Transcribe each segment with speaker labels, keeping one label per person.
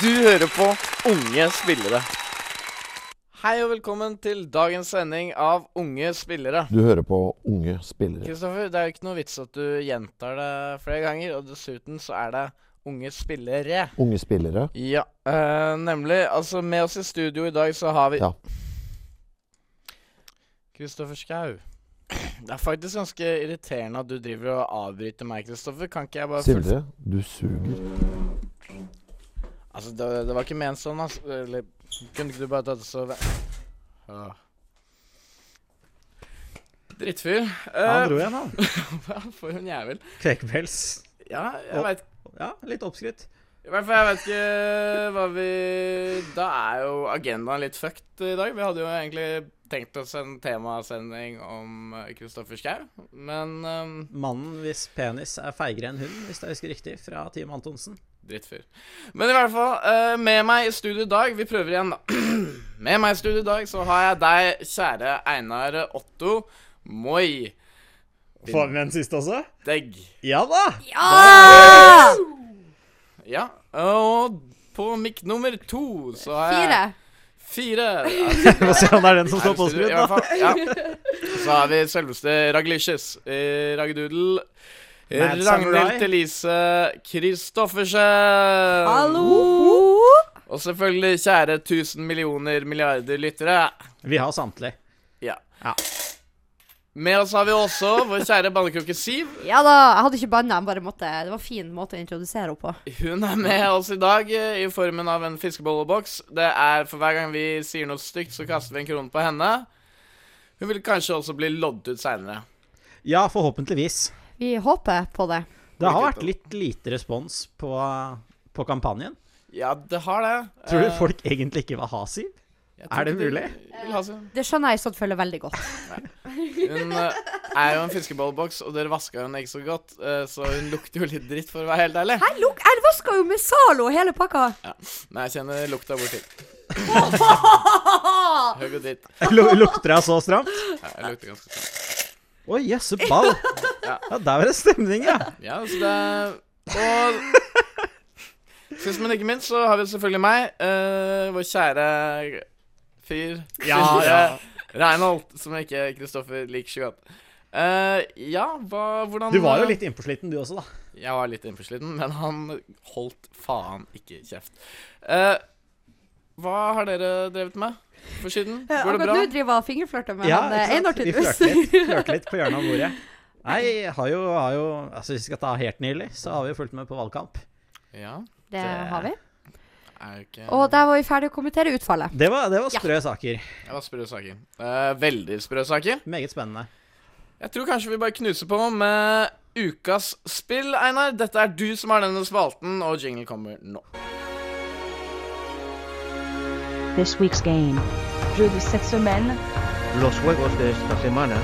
Speaker 1: høre på unge spillere. Hei og velkommen til dagens sending av Unge spillere.
Speaker 2: Du hører på unge spillere.
Speaker 1: Kristoffer, det er jo ikke noe vits at du gjentar det flere ganger, og dessuten så er det unge spillere.
Speaker 2: Unge spillere.
Speaker 1: Ja, eh, nemlig. Altså, med oss i studio i dag så har vi
Speaker 2: Ja.
Speaker 1: Kristoffer Schau. Det er faktisk ganske irriterende at du driver og avbryter meg, Kristoffer. Kan ikke jeg bare fullf-
Speaker 2: Sindre, du suger.
Speaker 1: Altså, det, det var ikke ment sånn, altså. Eller kunne ikke du bare tatt det så ve- Åh. Drittfyr.
Speaker 3: Han
Speaker 1: Eh,
Speaker 3: dro igjen, han.
Speaker 1: for en jævel.
Speaker 3: Kvekepels.
Speaker 1: Ja, jeg veit
Speaker 3: Ja, litt oppskrytt.
Speaker 1: I hvert fall, jeg vet ikke eh, hva vi Da er jo agendaen litt fucked i dag. Vi hadde jo egentlig tenkt oss en temasending om eh, Kristoffer Schau, men ehm,
Speaker 3: Mannen hvis penis er feigere enn hund, hvis jeg husker riktig, fra Team Antonsen.
Speaker 1: Drittfyr. Men i hvert fall, eh, med meg i studio i dag Vi prøver igjen, da. med meg i studio i dag så har jeg deg, kjære Einar Otto Moi
Speaker 3: Får vi med en siste også?
Speaker 1: Degg.
Speaker 3: Ja da!
Speaker 4: Ja!
Speaker 1: Ja, og på mikk nummer to så har jeg
Speaker 4: Fire.
Speaker 1: Fire. Ja,
Speaker 3: Få se om det er den som står
Speaker 1: Her i studio, i
Speaker 3: påskrudd,
Speaker 1: hvert
Speaker 3: da.
Speaker 1: fall. Ja. Så har vi selveste Raglicious, eh, Ragdoodle,
Speaker 3: Mad Samurai.
Speaker 1: Ragnhild Thelise Kristoffersen.
Speaker 4: Hallo!
Speaker 1: Og selvfølgelig kjære 1000 millioner milliarder lyttere.
Speaker 3: Vi har samtlig.
Speaker 1: Ja.
Speaker 3: Ja.
Speaker 1: Med oss har vi også vår kjære ballekroke Siv.
Speaker 4: Ja da, jeg hadde ikke banna, jeg bare måtte Det var en fin måte å introdusere henne på.
Speaker 1: Hun er med oss i dag eh, i formen av en fiskebolleboks. Det er For hver gang vi sier noe stygt, så kaster vi en krone på henne. Hun vil kanskje også bli loddet ut seinere.
Speaker 3: Ja, forhåpentligvis.
Speaker 4: Vi håper på det.
Speaker 3: Det har vært litt lite respons på, på kampanjen.
Speaker 1: Ja, det har det.
Speaker 3: Tror du
Speaker 1: Eh,
Speaker 3: folk egentlig ikke vil ha Siv?
Speaker 1: jeg
Speaker 3: er
Speaker 1: tror
Speaker 3: det
Speaker 1: ikke de
Speaker 3: mulig?
Speaker 1: vil ha seg.
Speaker 4: Det skjønner jeg i så tilfelle veldig godt.
Speaker 1: Hun eh, er jo en fiskebolleboks, og dere vaska henne ikke så godt, eh, så hun lukter jo litt dritt, for å være helt ærlig.
Speaker 4: Jeg, luk, jeg vaska jo med Zalo hele pakka.
Speaker 1: Men jeg kjenner lukta borti. Høy og dritt.
Speaker 3: Lu- Lukter jeg så stramt?
Speaker 1: Ja, Jeg lukter ganske sånn.
Speaker 3: Å, jøsse ball!
Speaker 1: Ja.
Speaker 3: Ja, der var det stemning, ja.
Speaker 1: Ja, så det er Og sist, men ikke minst, så har vi selvfølgelig meg, eh, vår kjære fyr eh,
Speaker 3: Ja, ja.
Speaker 1: Reinhold, som ikke Kristoffer liker så godt. Eh, ja, hva Hvordan
Speaker 3: Du var jo litt innpåsliten, du også, da.
Speaker 1: Jeg var litt innforsliten, men han holdt faen ikke kjeft. Eh, hva har dere drevet med for siden? Går det
Speaker 4: Eh, Akkurat
Speaker 1: bra?
Speaker 4: nå driver jeg fingerflørter med
Speaker 3: ikke
Speaker 4: han, eh,
Speaker 3: sant?
Speaker 4: Einar
Speaker 3: Vi
Speaker 4: Tidus.
Speaker 3: flørte litt, flørte litt på hjørnet av bordet. Nei, jeg har jo, har jo Altså, hvis vi skal ta helt nylig, så har vi jo fulgt med på valgkamp.
Speaker 1: Ja,
Speaker 4: Det har vi.
Speaker 1: er jo ikke
Speaker 4: Og der var vi ferdig å kommentere utfallet.
Speaker 3: Det var, det var sprø saker.
Speaker 1: Det var sprø saker. Eh, veldig sprø saker.
Speaker 3: Meget spennende.
Speaker 1: Jeg tror kanskje vi bare knuser på med ukas spill, Einar. Dette er du som har denne spalten, og jingle kommer nå.
Speaker 5: This week's game. Jeu de cette semaine.
Speaker 6: los juegos de esta semana.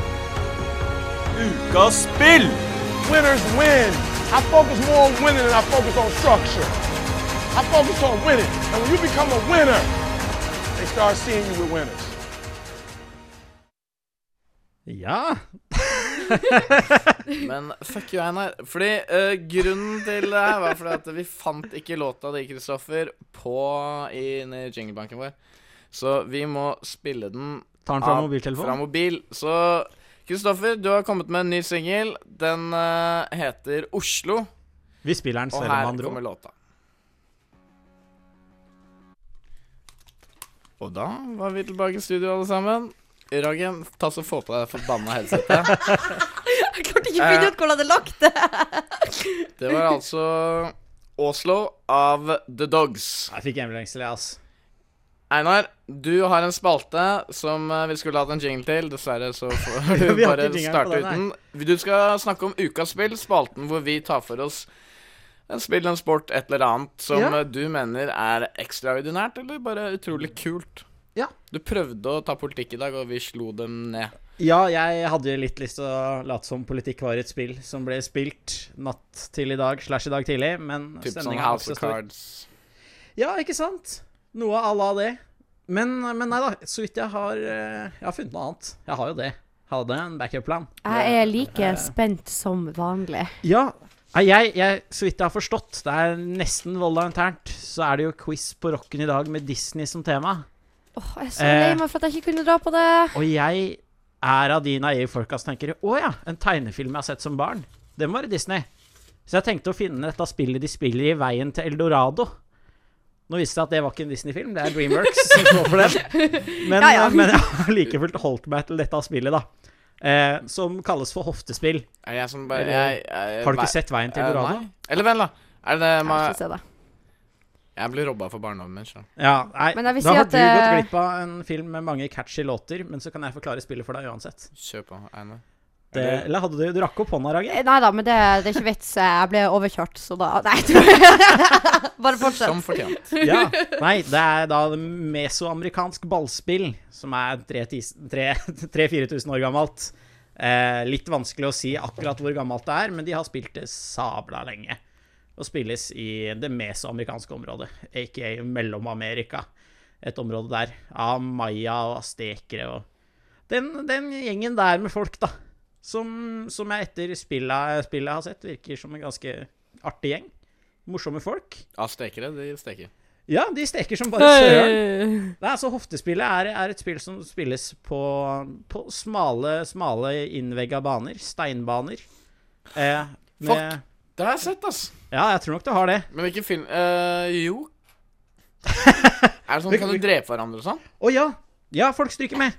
Speaker 7: winners win. I focus more on winning than I focus on structure. I focus on winning. And when you become a winner, they start seeing you with winners.
Speaker 3: Ja.
Speaker 1: Men fuck you, Einar. Fordi eh, grunnen til det her var fordi at vi fant ikke låta di, Kristoffer, på i, inne i jinglebanken vår. Så vi må spille den
Speaker 3: Tar den fra
Speaker 1: av- fra
Speaker 3: mobiltelefonen?
Speaker 1: mobil. Så Kristoffer, du har kommet med en ny singel. Den eh, heter Oslo.
Speaker 3: Vi spiller den
Speaker 1: Og
Speaker 3: selv om
Speaker 1: her
Speaker 3: han dro.
Speaker 1: kommer låta. Og da var vi tilbake i studio, alle sammen. Ragen, ta så få på deg det forbanna headsetet.
Speaker 4: Jeg klarte ikke å finne ut hvordan det lagte.
Speaker 1: Det var altså Oslo av The Dogs.
Speaker 3: Jeg fikk hjemlengsel, jeg, ass.
Speaker 1: Einar, du har en spalte som eh, vi skulle hatt en jingle til. Dessverre så får
Speaker 3: Ja,
Speaker 1: du
Speaker 3: vi har
Speaker 1: bare
Speaker 3: ikke jingle på
Speaker 1: starte
Speaker 3: den
Speaker 1: uten. Du skal snakke om ukas spill, spalten hvor vi tar for oss en spill, en sport, et eller annet som
Speaker 3: Ja.
Speaker 1: eh, du mener er ekstraordinært eller bare utrolig kult.
Speaker 3: Ja.
Speaker 1: Du prøvde å ta politikk i dag, og vi slo dem ned.
Speaker 3: Ja, jeg hadde jo litt lyst til å late som politikk var et spill som ble spilt natt til i dag slash i dag tidlig, men
Speaker 1: Typ sånn
Speaker 3: stemningen var
Speaker 1: House
Speaker 3: ikke så
Speaker 1: of
Speaker 3: stor.
Speaker 1: Cards.
Speaker 3: Ja, ikke sant? Noe à la det. Men, men nei da, så vidt jeg har eh, Jeg har funnet noe annet. Jeg har jo det. Hadde en backup-plan.
Speaker 4: Jeg er like spent som vanlig.
Speaker 3: Ja, Nei, jeg, jeg, så vidt jeg har forstått, det er nesten Volda internt, så er det jo quiz på rocken i dag med Disney som tema.
Speaker 4: Åh, jeg er så lei
Speaker 3: Eh.
Speaker 4: meg for at jeg ikke kunne dra på det.
Speaker 3: Og jeg er av de naive folka som tenker Å ja, en tegnefilm jeg har sett som barn. Det må være Disney. Så jeg tenkte å finne dette spillet de spiller i Veien til Eldorado. Nå viste det seg at det var ikke en Disney-film, det er Dreamworks som står for den. Men, eh,
Speaker 4: Ja, ja.
Speaker 3: men jeg har like fullt holdt meg til dette spillet, da. Eh, som kalles for hoftespill.
Speaker 1: Er det jeg som bare
Speaker 3: Eller-
Speaker 1: jeg, jeg,
Speaker 3: Har du
Speaker 1: nei-
Speaker 3: ikke sett Veien til
Speaker 1: eh,
Speaker 3: Eldorado?
Speaker 1: Nei. Eller vent, da. Er det
Speaker 4: Jeg vil
Speaker 1: ma-
Speaker 4: ikke se det.
Speaker 1: Jeg blir robba for barndommen min. skjønner du.
Speaker 3: Ja, nei,
Speaker 4: Men jeg vil
Speaker 3: da
Speaker 4: si
Speaker 3: har
Speaker 4: at,
Speaker 3: du gått
Speaker 4: eh,
Speaker 3: glipp av en film med mange catchy låter, men så kan jeg forklare spillet for deg uansett.
Speaker 1: Kjør på, Einar.
Speaker 3: Det,
Speaker 1: Eller-
Speaker 3: eller hadde du Du rakk opp hånda, Rager?
Speaker 4: Eh, Nei da, men det, det er ikke vits. Jeg ble overkjørt, så da Nei, jeg- bare fortsett.
Speaker 1: Som fortjent.
Speaker 3: Ja. Nei, det er da mesoamerikansk ballspill, som er 3000-4000 år gammelt. Eh, litt vanskelig å si akkurat hvor gammelt det er, men de har spilt det sabla lenge. Og spilles i det mesoamerikanske området, aka Mellom-Amerika. Et område der av maya og astekere og den, den gjengen der med folk, da. Som, som jeg etter spillet, spillet jeg har sett, virker som en ganske artig gjeng. Morsomme folk.
Speaker 1: Ja, stekere, de steker.
Speaker 3: Ja, de steker som bare søren. Nei, altså Hoftespillet er, er et spill som spilles på, på smale, smale innvegga baner. Steinbaner. Eh, med,
Speaker 1: Det har jeg sett, ass.
Speaker 3: ja, jeg tror nok du har det.
Speaker 1: Men hvilken film eh, Jo. Er det sånn kan du drepe hverandre og sånn?
Speaker 3: Å ja! Ja, folk stryker med.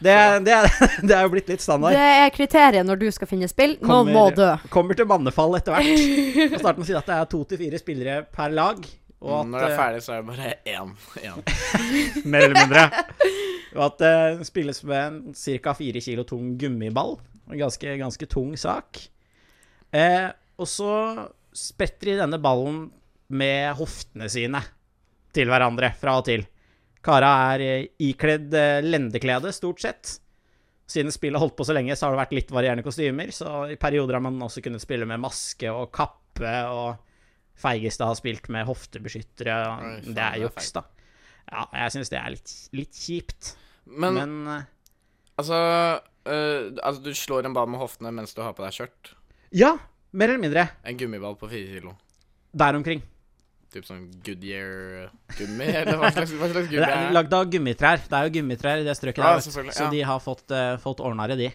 Speaker 3: Det, er- det, er, det er jo blitt litt standard.
Speaker 4: Det er kriteriet når du skal finne spill. Noen
Speaker 3: Kommer-
Speaker 4: må dø.
Speaker 3: Kommer til mannefall etter hvert. Jeg starter med å si at det er to til fire spillere per lag. Og at,
Speaker 1: Mm, Når det er
Speaker 3: eh,
Speaker 1: ferdig, så er det bare én. én.
Speaker 3: Mer eller mindre. Og at det spilles med en ca. fire kilo tung gummiball. En ganske, ganske tung sak. Eh, og så spretter de denne ballen med hoftene sine til hverandre fra og til. Kara er eh, ikledd eh, lendeklede, stort sett. Siden spillet holdt på så lenge, så har det vært litt varierende kostymer. Så i perioder har man også kunnet spille med maske og kappe, og Feigestad har spilt med hoftebeskyttere. og
Speaker 1: Oi, faen,
Speaker 3: det
Speaker 1: det
Speaker 3: er
Speaker 1: er
Speaker 3: juks, da. Ja, jeg syns det er litt, litt kjipt.
Speaker 1: Men,
Speaker 3: Men, eh,
Speaker 1: altså eh, Altså, du slår en ball med hoftene mens du har på deg skjørt.
Speaker 3: Ja, mer eller mindre.
Speaker 1: En gummiball på fire kilo.
Speaker 3: Der omkring.
Speaker 1: Typ sånn Goodyear-gummi, eller hva slags, hva slags
Speaker 3: Det
Speaker 1: gummi
Speaker 3: er
Speaker 1: er det?
Speaker 3: lagd av gummitrær. Det er jo gummitrær i det strøket
Speaker 1: Ja,
Speaker 3: der, vet du.
Speaker 1: selvfølgelig,
Speaker 3: så
Speaker 1: ja.
Speaker 3: de har fått, uh, fått ordna det, de.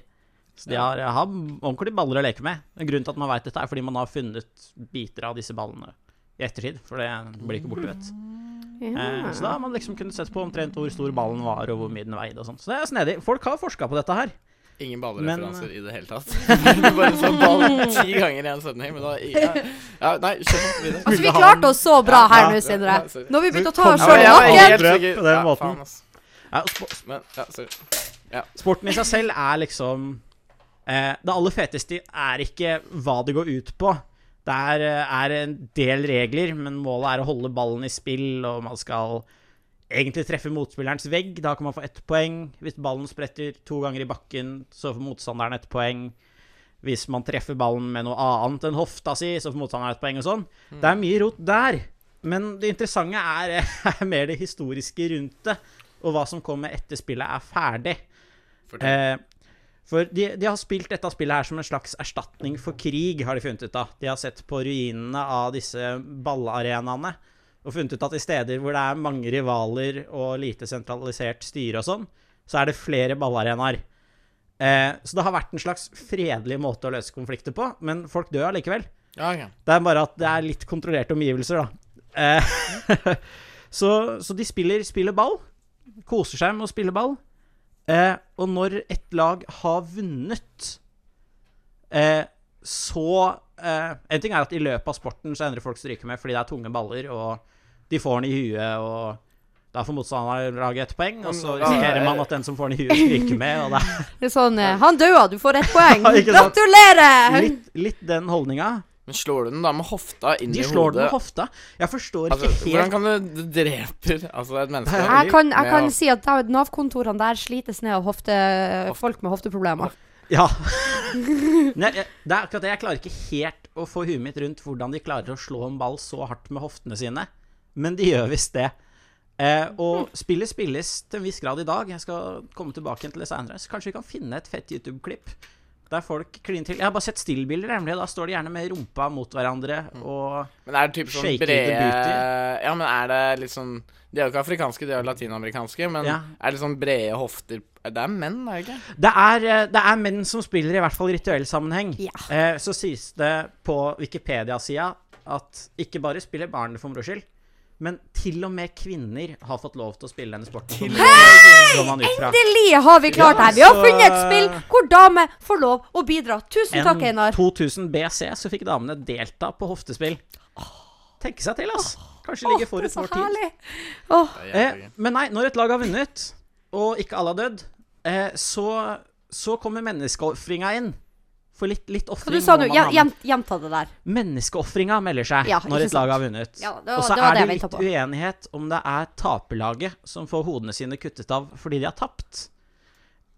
Speaker 3: Så de har, har ordentlige baller å leke med. Men Grunnen til at man veit dette, er fordi man har funnet biter av disse ballene i ettertid. For det blir ikke borte, vet du.
Speaker 1: Mm.
Speaker 3: Eh, så da har man liksom kunnet sett på omtrent hvor stor ballen var, og hvor mye den veide og sånn. Så det er snedig. Folk har forska på dette her.
Speaker 1: Ingen
Speaker 3: Men-
Speaker 1: ballreferanser i det hele tatt. Du bare sa ball ti ganger i en setning, men da ja, ja, Nei, kjør på videre.
Speaker 4: Altså, vi klarte oss så bra
Speaker 1: Ja,
Speaker 4: her
Speaker 1: ja,
Speaker 4: nå,
Speaker 1: ja,
Speaker 4: Sindre.
Speaker 1: ja, altså. sorry.
Speaker 4: Nå har vi begynt
Speaker 3: Ja,
Speaker 4: å ta
Speaker 1: Ja, men
Speaker 3: men
Speaker 4: oss sjøl i
Speaker 1: jeg var
Speaker 3: Ja,
Speaker 4: nakken.
Speaker 1: helt
Speaker 3: Drøp
Speaker 1: sikker-
Speaker 3: på den
Speaker 1: ja,
Speaker 3: måten.
Speaker 1: faen, ass.
Speaker 3: Ja, og sp-
Speaker 1: Men, ja, sorry.
Speaker 3: Sporten i seg selv er liksom eh, Det aller feteste er ikke hva det går ut på. Det er, eh, er en del regler, men målet er å holde ballen i spill, og man skal egentlig treffe motspillerens vegg. Da kan man få ett poeng. Hvis ballen spretter to ganger i bakken, så får motstanderen ett poeng. Hvis man treffer ballen med noe annet enn hofta si, så får motstanderen ett poeng og sånn. Det er mye rot der. Men det interessante er, er mer det historiske rundt det, og hva som kommer etter spillet er ferdig.
Speaker 1: Fortell.
Speaker 3: Eh, for de, de har spilt dette spillet her som en slags erstatning for krig, har de funnet ut av. De har sett på ruinene av disse ballarenaene og funnet ut at i steder hvor det er mange rivaler og lite sentralisert styre og sånn, så er det flere ballarenaer. Eh, så det har vært en slags fredelig måte å løse konflikter på, men folk dør allikevel.
Speaker 1: Ja, ok.
Speaker 3: Det er bare at det er litt kontrollerte omgivelser, da. Eh, så, så de spiller, spiller ball. Koser seg med å spille ball. Eh, og når et lag har vunnet, eh, så eh, En ting er at i løpet av sporten så endrer folk stryke med fordi det er tunge baller, og de får den i huet, og da får motstanderlaget ett poeng, og så risikerer man at den som får den i huet, stryker med, og det er
Speaker 4: Det er sånn eh, Han daua, du får ett poeng.
Speaker 3: Ja, ikke sant?
Speaker 4: Gratulerer!
Speaker 3: litt, litt den holdninga.
Speaker 1: Men slår du den da med hofta inn i
Speaker 3: De
Speaker 1: hodet?
Speaker 3: slår den med hofta. Jeg forstår
Speaker 1: Altså,
Speaker 3: ikke helt
Speaker 1: hvordan kan du du dreper altså, et menneske?
Speaker 3: Nei,
Speaker 4: Jeg kan, jeg
Speaker 1: med
Speaker 4: kan
Speaker 1: hof-
Speaker 4: si at da- Nav-kontorene der slites ned av hofte, folk med hofteproblemer.
Speaker 3: Ja. Nei, jeg- det er akkurat det. Jeg klarer ikke helt å få huet mitt rundt hvordan de klarer å slå en ball så hardt med hoftene sine, men de gjør visst det. Eh, og spillet spilles til en viss grad i dag. Jeg skal komme tilbake igjen til det seinere, så kanskje vi kan finne et fett YouTube-klipp Der folk kliner til. Jeg har bare sett stillbilder, nemlig. og Da står de gjerne med rumpa mot hverandre og
Speaker 1: Men er det typ sånn
Speaker 3: Shake it,
Speaker 1: brede
Speaker 3: the beauty.
Speaker 1: Ja, men er det litt sånn De er jo ikke afrikanske, de er jo latinamerikanske, men
Speaker 3: Ja.
Speaker 1: er det sånn brede hofter Det er menn, er det ikke?
Speaker 3: Det er, eh, det er menn som spiller, i hvert fall i rituell sammenheng.
Speaker 4: Ja.
Speaker 3: Eh, så sies det på Wikipedia-sida at ikke bare spiller barn det for moro skyld, men til og med kvinner har fått lov til å spille denne sporten. Til
Speaker 4: Endelig har vi klart det her! Vi har
Speaker 3: Ja, altså-
Speaker 4: funnet et
Speaker 3: så-
Speaker 4: spill hvor damer får lov å bidra. Tusen takk, Einar.
Speaker 3: 2000 BC så fikk damene delta på hoftespill. Tenke seg til, ass. Kanskje ligge
Speaker 4: Det er
Speaker 3: forut
Speaker 4: så
Speaker 3: vår tid.
Speaker 4: herlig.
Speaker 3: Eh, men nei, når et lag har vunnet, og ikke alle har dødd, eh, så, så kommer menneskeofringa inn. For litt, litt
Speaker 4: Så
Speaker 3: ofring
Speaker 4: du sa
Speaker 3: må
Speaker 4: nå
Speaker 3: man ha
Speaker 4: gjen-
Speaker 3: med.
Speaker 4: gjen- Gjenta det der.
Speaker 3: Menneskeofringa melder seg
Speaker 4: Ja,
Speaker 3: når
Speaker 4: ikke
Speaker 3: et lag
Speaker 4: sant.
Speaker 3: har vunnet.
Speaker 4: Ja, det var-
Speaker 3: og så
Speaker 4: det var
Speaker 3: er
Speaker 4: det
Speaker 3: det
Speaker 4: jeg
Speaker 3: litt
Speaker 4: ventet på.
Speaker 3: uenighet om det er taperlaget som får hodene sine kuttet av fordi de har tapt,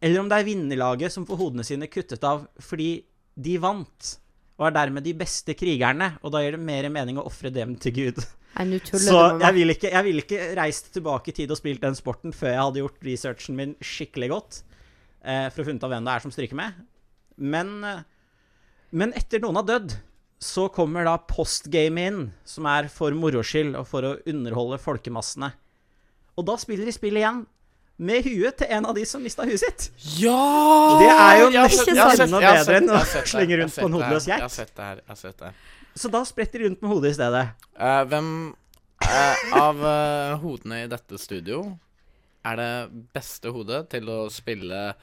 Speaker 3: eller om det er vinnerlaget som får hodene sine kuttet av fordi de vant, og er dermed de beste krigerne, og da gir det mer mening å ofre dem til Gud.
Speaker 4: Nei, nå tuller
Speaker 3: Så
Speaker 4: du med
Speaker 3: jeg
Speaker 4: meg.
Speaker 3: ville ikke, jeg vil ikke reist tilbake i tid og spilt den sporten før jeg hadde gjort researchen min skikkelig godt, eh, for å finne ut av hvem det er som stryker med. Men, eh, men etter noen har dødd, så kommer da postgame inn, som er for moro skyld og for å underholde folkemassene. Og da spiller de spill igjen. Med huet til en av de som mista huet sitt.
Speaker 1: Ja!
Speaker 3: Det er jo
Speaker 1: Jeg har
Speaker 4: nesten
Speaker 1: sett- jeg har sett-
Speaker 3: enda
Speaker 1: jeg har
Speaker 3: bedre
Speaker 1: sett-
Speaker 3: enn å
Speaker 1: jeg har sett det, jeg
Speaker 3: slenge
Speaker 1: har
Speaker 3: rundt
Speaker 1: sett
Speaker 3: på en
Speaker 1: det her,
Speaker 3: hodeløs geit.
Speaker 1: Jeg har sett det her. jeg har sett det her.
Speaker 3: Så da spretter de rundt med hodet i stedet.
Speaker 1: Eh, hvem eh, av eh, hodene i dette studio er det beste hodet til å spille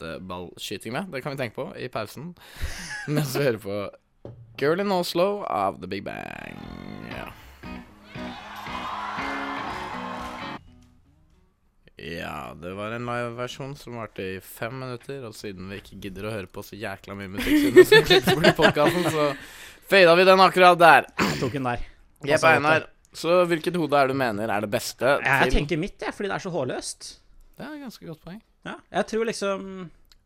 Speaker 1: hofteballskyting med? Det kan vi tenke på i pausen mens vi hører på Girl in Oslo av The Big Bang. Ja. ja, det var en liveversjon som varte i fem minutter, og siden vi ikke gidder å høre på så jækla mye musikk, siden det skal klippes bort i podcasten, så fada vi den akkurat der.
Speaker 3: Jeg tok hun der.
Speaker 1: Jepp,
Speaker 3: Altså,
Speaker 1: Einar. Så hvilket hode er det du mener er det beste?
Speaker 3: Jeg
Speaker 1: til-
Speaker 3: tenker mitt, jeg, fordi det er så hårløst.
Speaker 1: Det er et ganske godt poeng.
Speaker 3: Ja, jeg tror liksom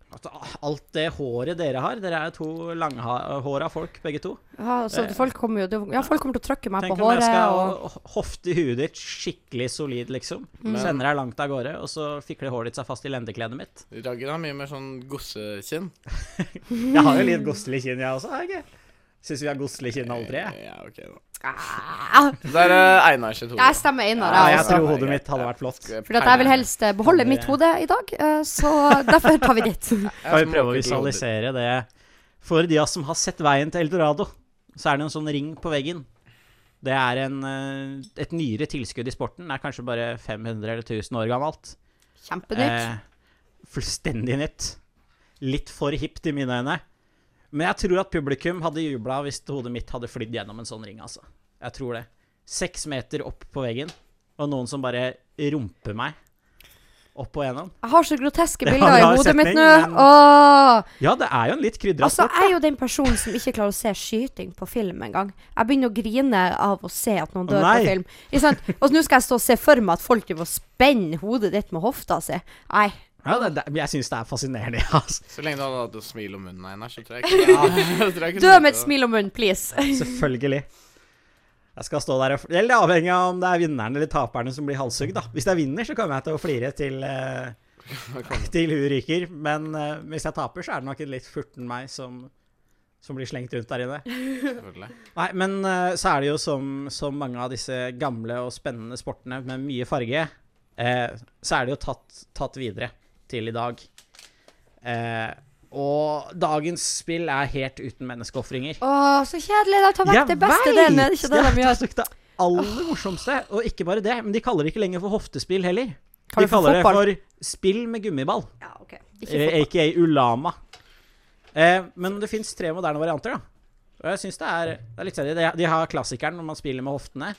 Speaker 3: at alt det håret dere har Dere er jo to langhåra folk, begge to.
Speaker 4: Ja, så folk kommer jo Ja, folk kommer til å trykke meg
Speaker 3: Eh. Tenk
Speaker 4: på
Speaker 3: om jeg
Speaker 4: håret
Speaker 3: skal
Speaker 4: og Mm.
Speaker 3: hofte huet ditt skikkelig solid, liksom. Sender deg langt av gårde, og så fikler håret ditt seg fast i lendekledet mitt.
Speaker 1: Raggen har mye mer sånn gossekinn.
Speaker 3: Jeg har jo litt godslig kinn, jeg også. har jeg ikke? Syns vi har godslig kinn alle tre. jeg.
Speaker 1: Ja, ok da.
Speaker 4: Ah,
Speaker 1: Det er eh, Einar sitt hode.
Speaker 4: Jeg stemmer Einar,
Speaker 3: Ja,
Speaker 4: jeg
Speaker 3: jeg
Speaker 4: også.
Speaker 3: tror hodet mitt hadde vært flott.
Speaker 4: For at jeg vil helst eh, beholde mitt hode i dag, eh, så derfor tar vi ditt.
Speaker 3: Kan vi prøve å visualisere det? For de av oss som har sett veien til Eldorado, så er det en sånn ring på veggen. Det er en, eh, et nyere tilskudd i sporten. Det er kanskje bare 500 eller 1000 år gammelt. Eh.
Speaker 4: Kjempenytt.
Speaker 3: fullstendig nytt. Litt for hipt i mine øyne. Men jeg tror at publikum hadde jubla hvis hodet mitt hadde flydd gjennom en sånn ring, altså. Jeg tror det. Seks meter opp på veggen, og noen som bare rumper meg opp og gjennom.
Speaker 4: Jeg har så groteske
Speaker 3: Det var
Speaker 4: bilder i
Speaker 3: bra
Speaker 4: hodet mitt
Speaker 3: setning, men-
Speaker 4: nå. Åh.
Speaker 3: Ja, det er jo en litt krydra
Speaker 4: Altså,
Speaker 3: sport.
Speaker 4: jeg er jo den personen som ikke klarer å se skyting på film engang. Jeg begynner å grine av å se at noen
Speaker 3: Å,
Speaker 4: dør
Speaker 3: nei.
Speaker 4: på film. Ikke sant? Og nå skal jeg stå og se for meg at folk driver og spenner hodet ditt med hofta si. Nei.
Speaker 3: Ja, det, det, jeg syns det er fascinerende, altså.
Speaker 1: Så lenge du hadde hatt et smil om munnen, Einar, så tror jeg ikke jeg tror jeg kunne
Speaker 4: Dø
Speaker 1: gjort
Speaker 4: med et
Speaker 1: det.
Speaker 4: smil om munnen, please.
Speaker 3: Selvfølgelig. Jeg skal stå der og fl- Eller avhengig av om det er vinneren eller taperne som blir halshugd, da. Hvis jeg vinner, så kommer jeg til å flire til, eh, til huet ryker. Men eh, hvis jeg taper, så er det nok en litt furten meg som, som blir slengt rundt der inne.
Speaker 1: Selvfølgelig.
Speaker 3: Nei, men eh, så er det jo som, som mange av disse gamle og spennende sportene med mye farge, eh, så er det jo tatt, tatt videre til i dag. Eh, og dagens spill er helt uten menneskeofringer.
Speaker 4: Å, så kjedelig. De tar vekk det beste
Speaker 3: vet!
Speaker 4: delen. Er det ikke det de
Speaker 3: Jeg
Speaker 4: gjør?
Speaker 3: tok det aller morsomste, og ikke bare det, men de kaller det ikke lenger for hoftespill heller.
Speaker 4: Kaller
Speaker 3: De
Speaker 4: det for
Speaker 3: kaller det
Speaker 4: fotball?
Speaker 3: for spill med gummiball,
Speaker 4: Ja, ok. Ikke
Speaker 3: eh,
Speaker 4: fotball.
Speaker 3: aka ulama. Eh, men det fins tre moderne varianter, da. Og jeg synes det er, det er litt seriøst. De- De har klassikeren når man spiller med hoftene.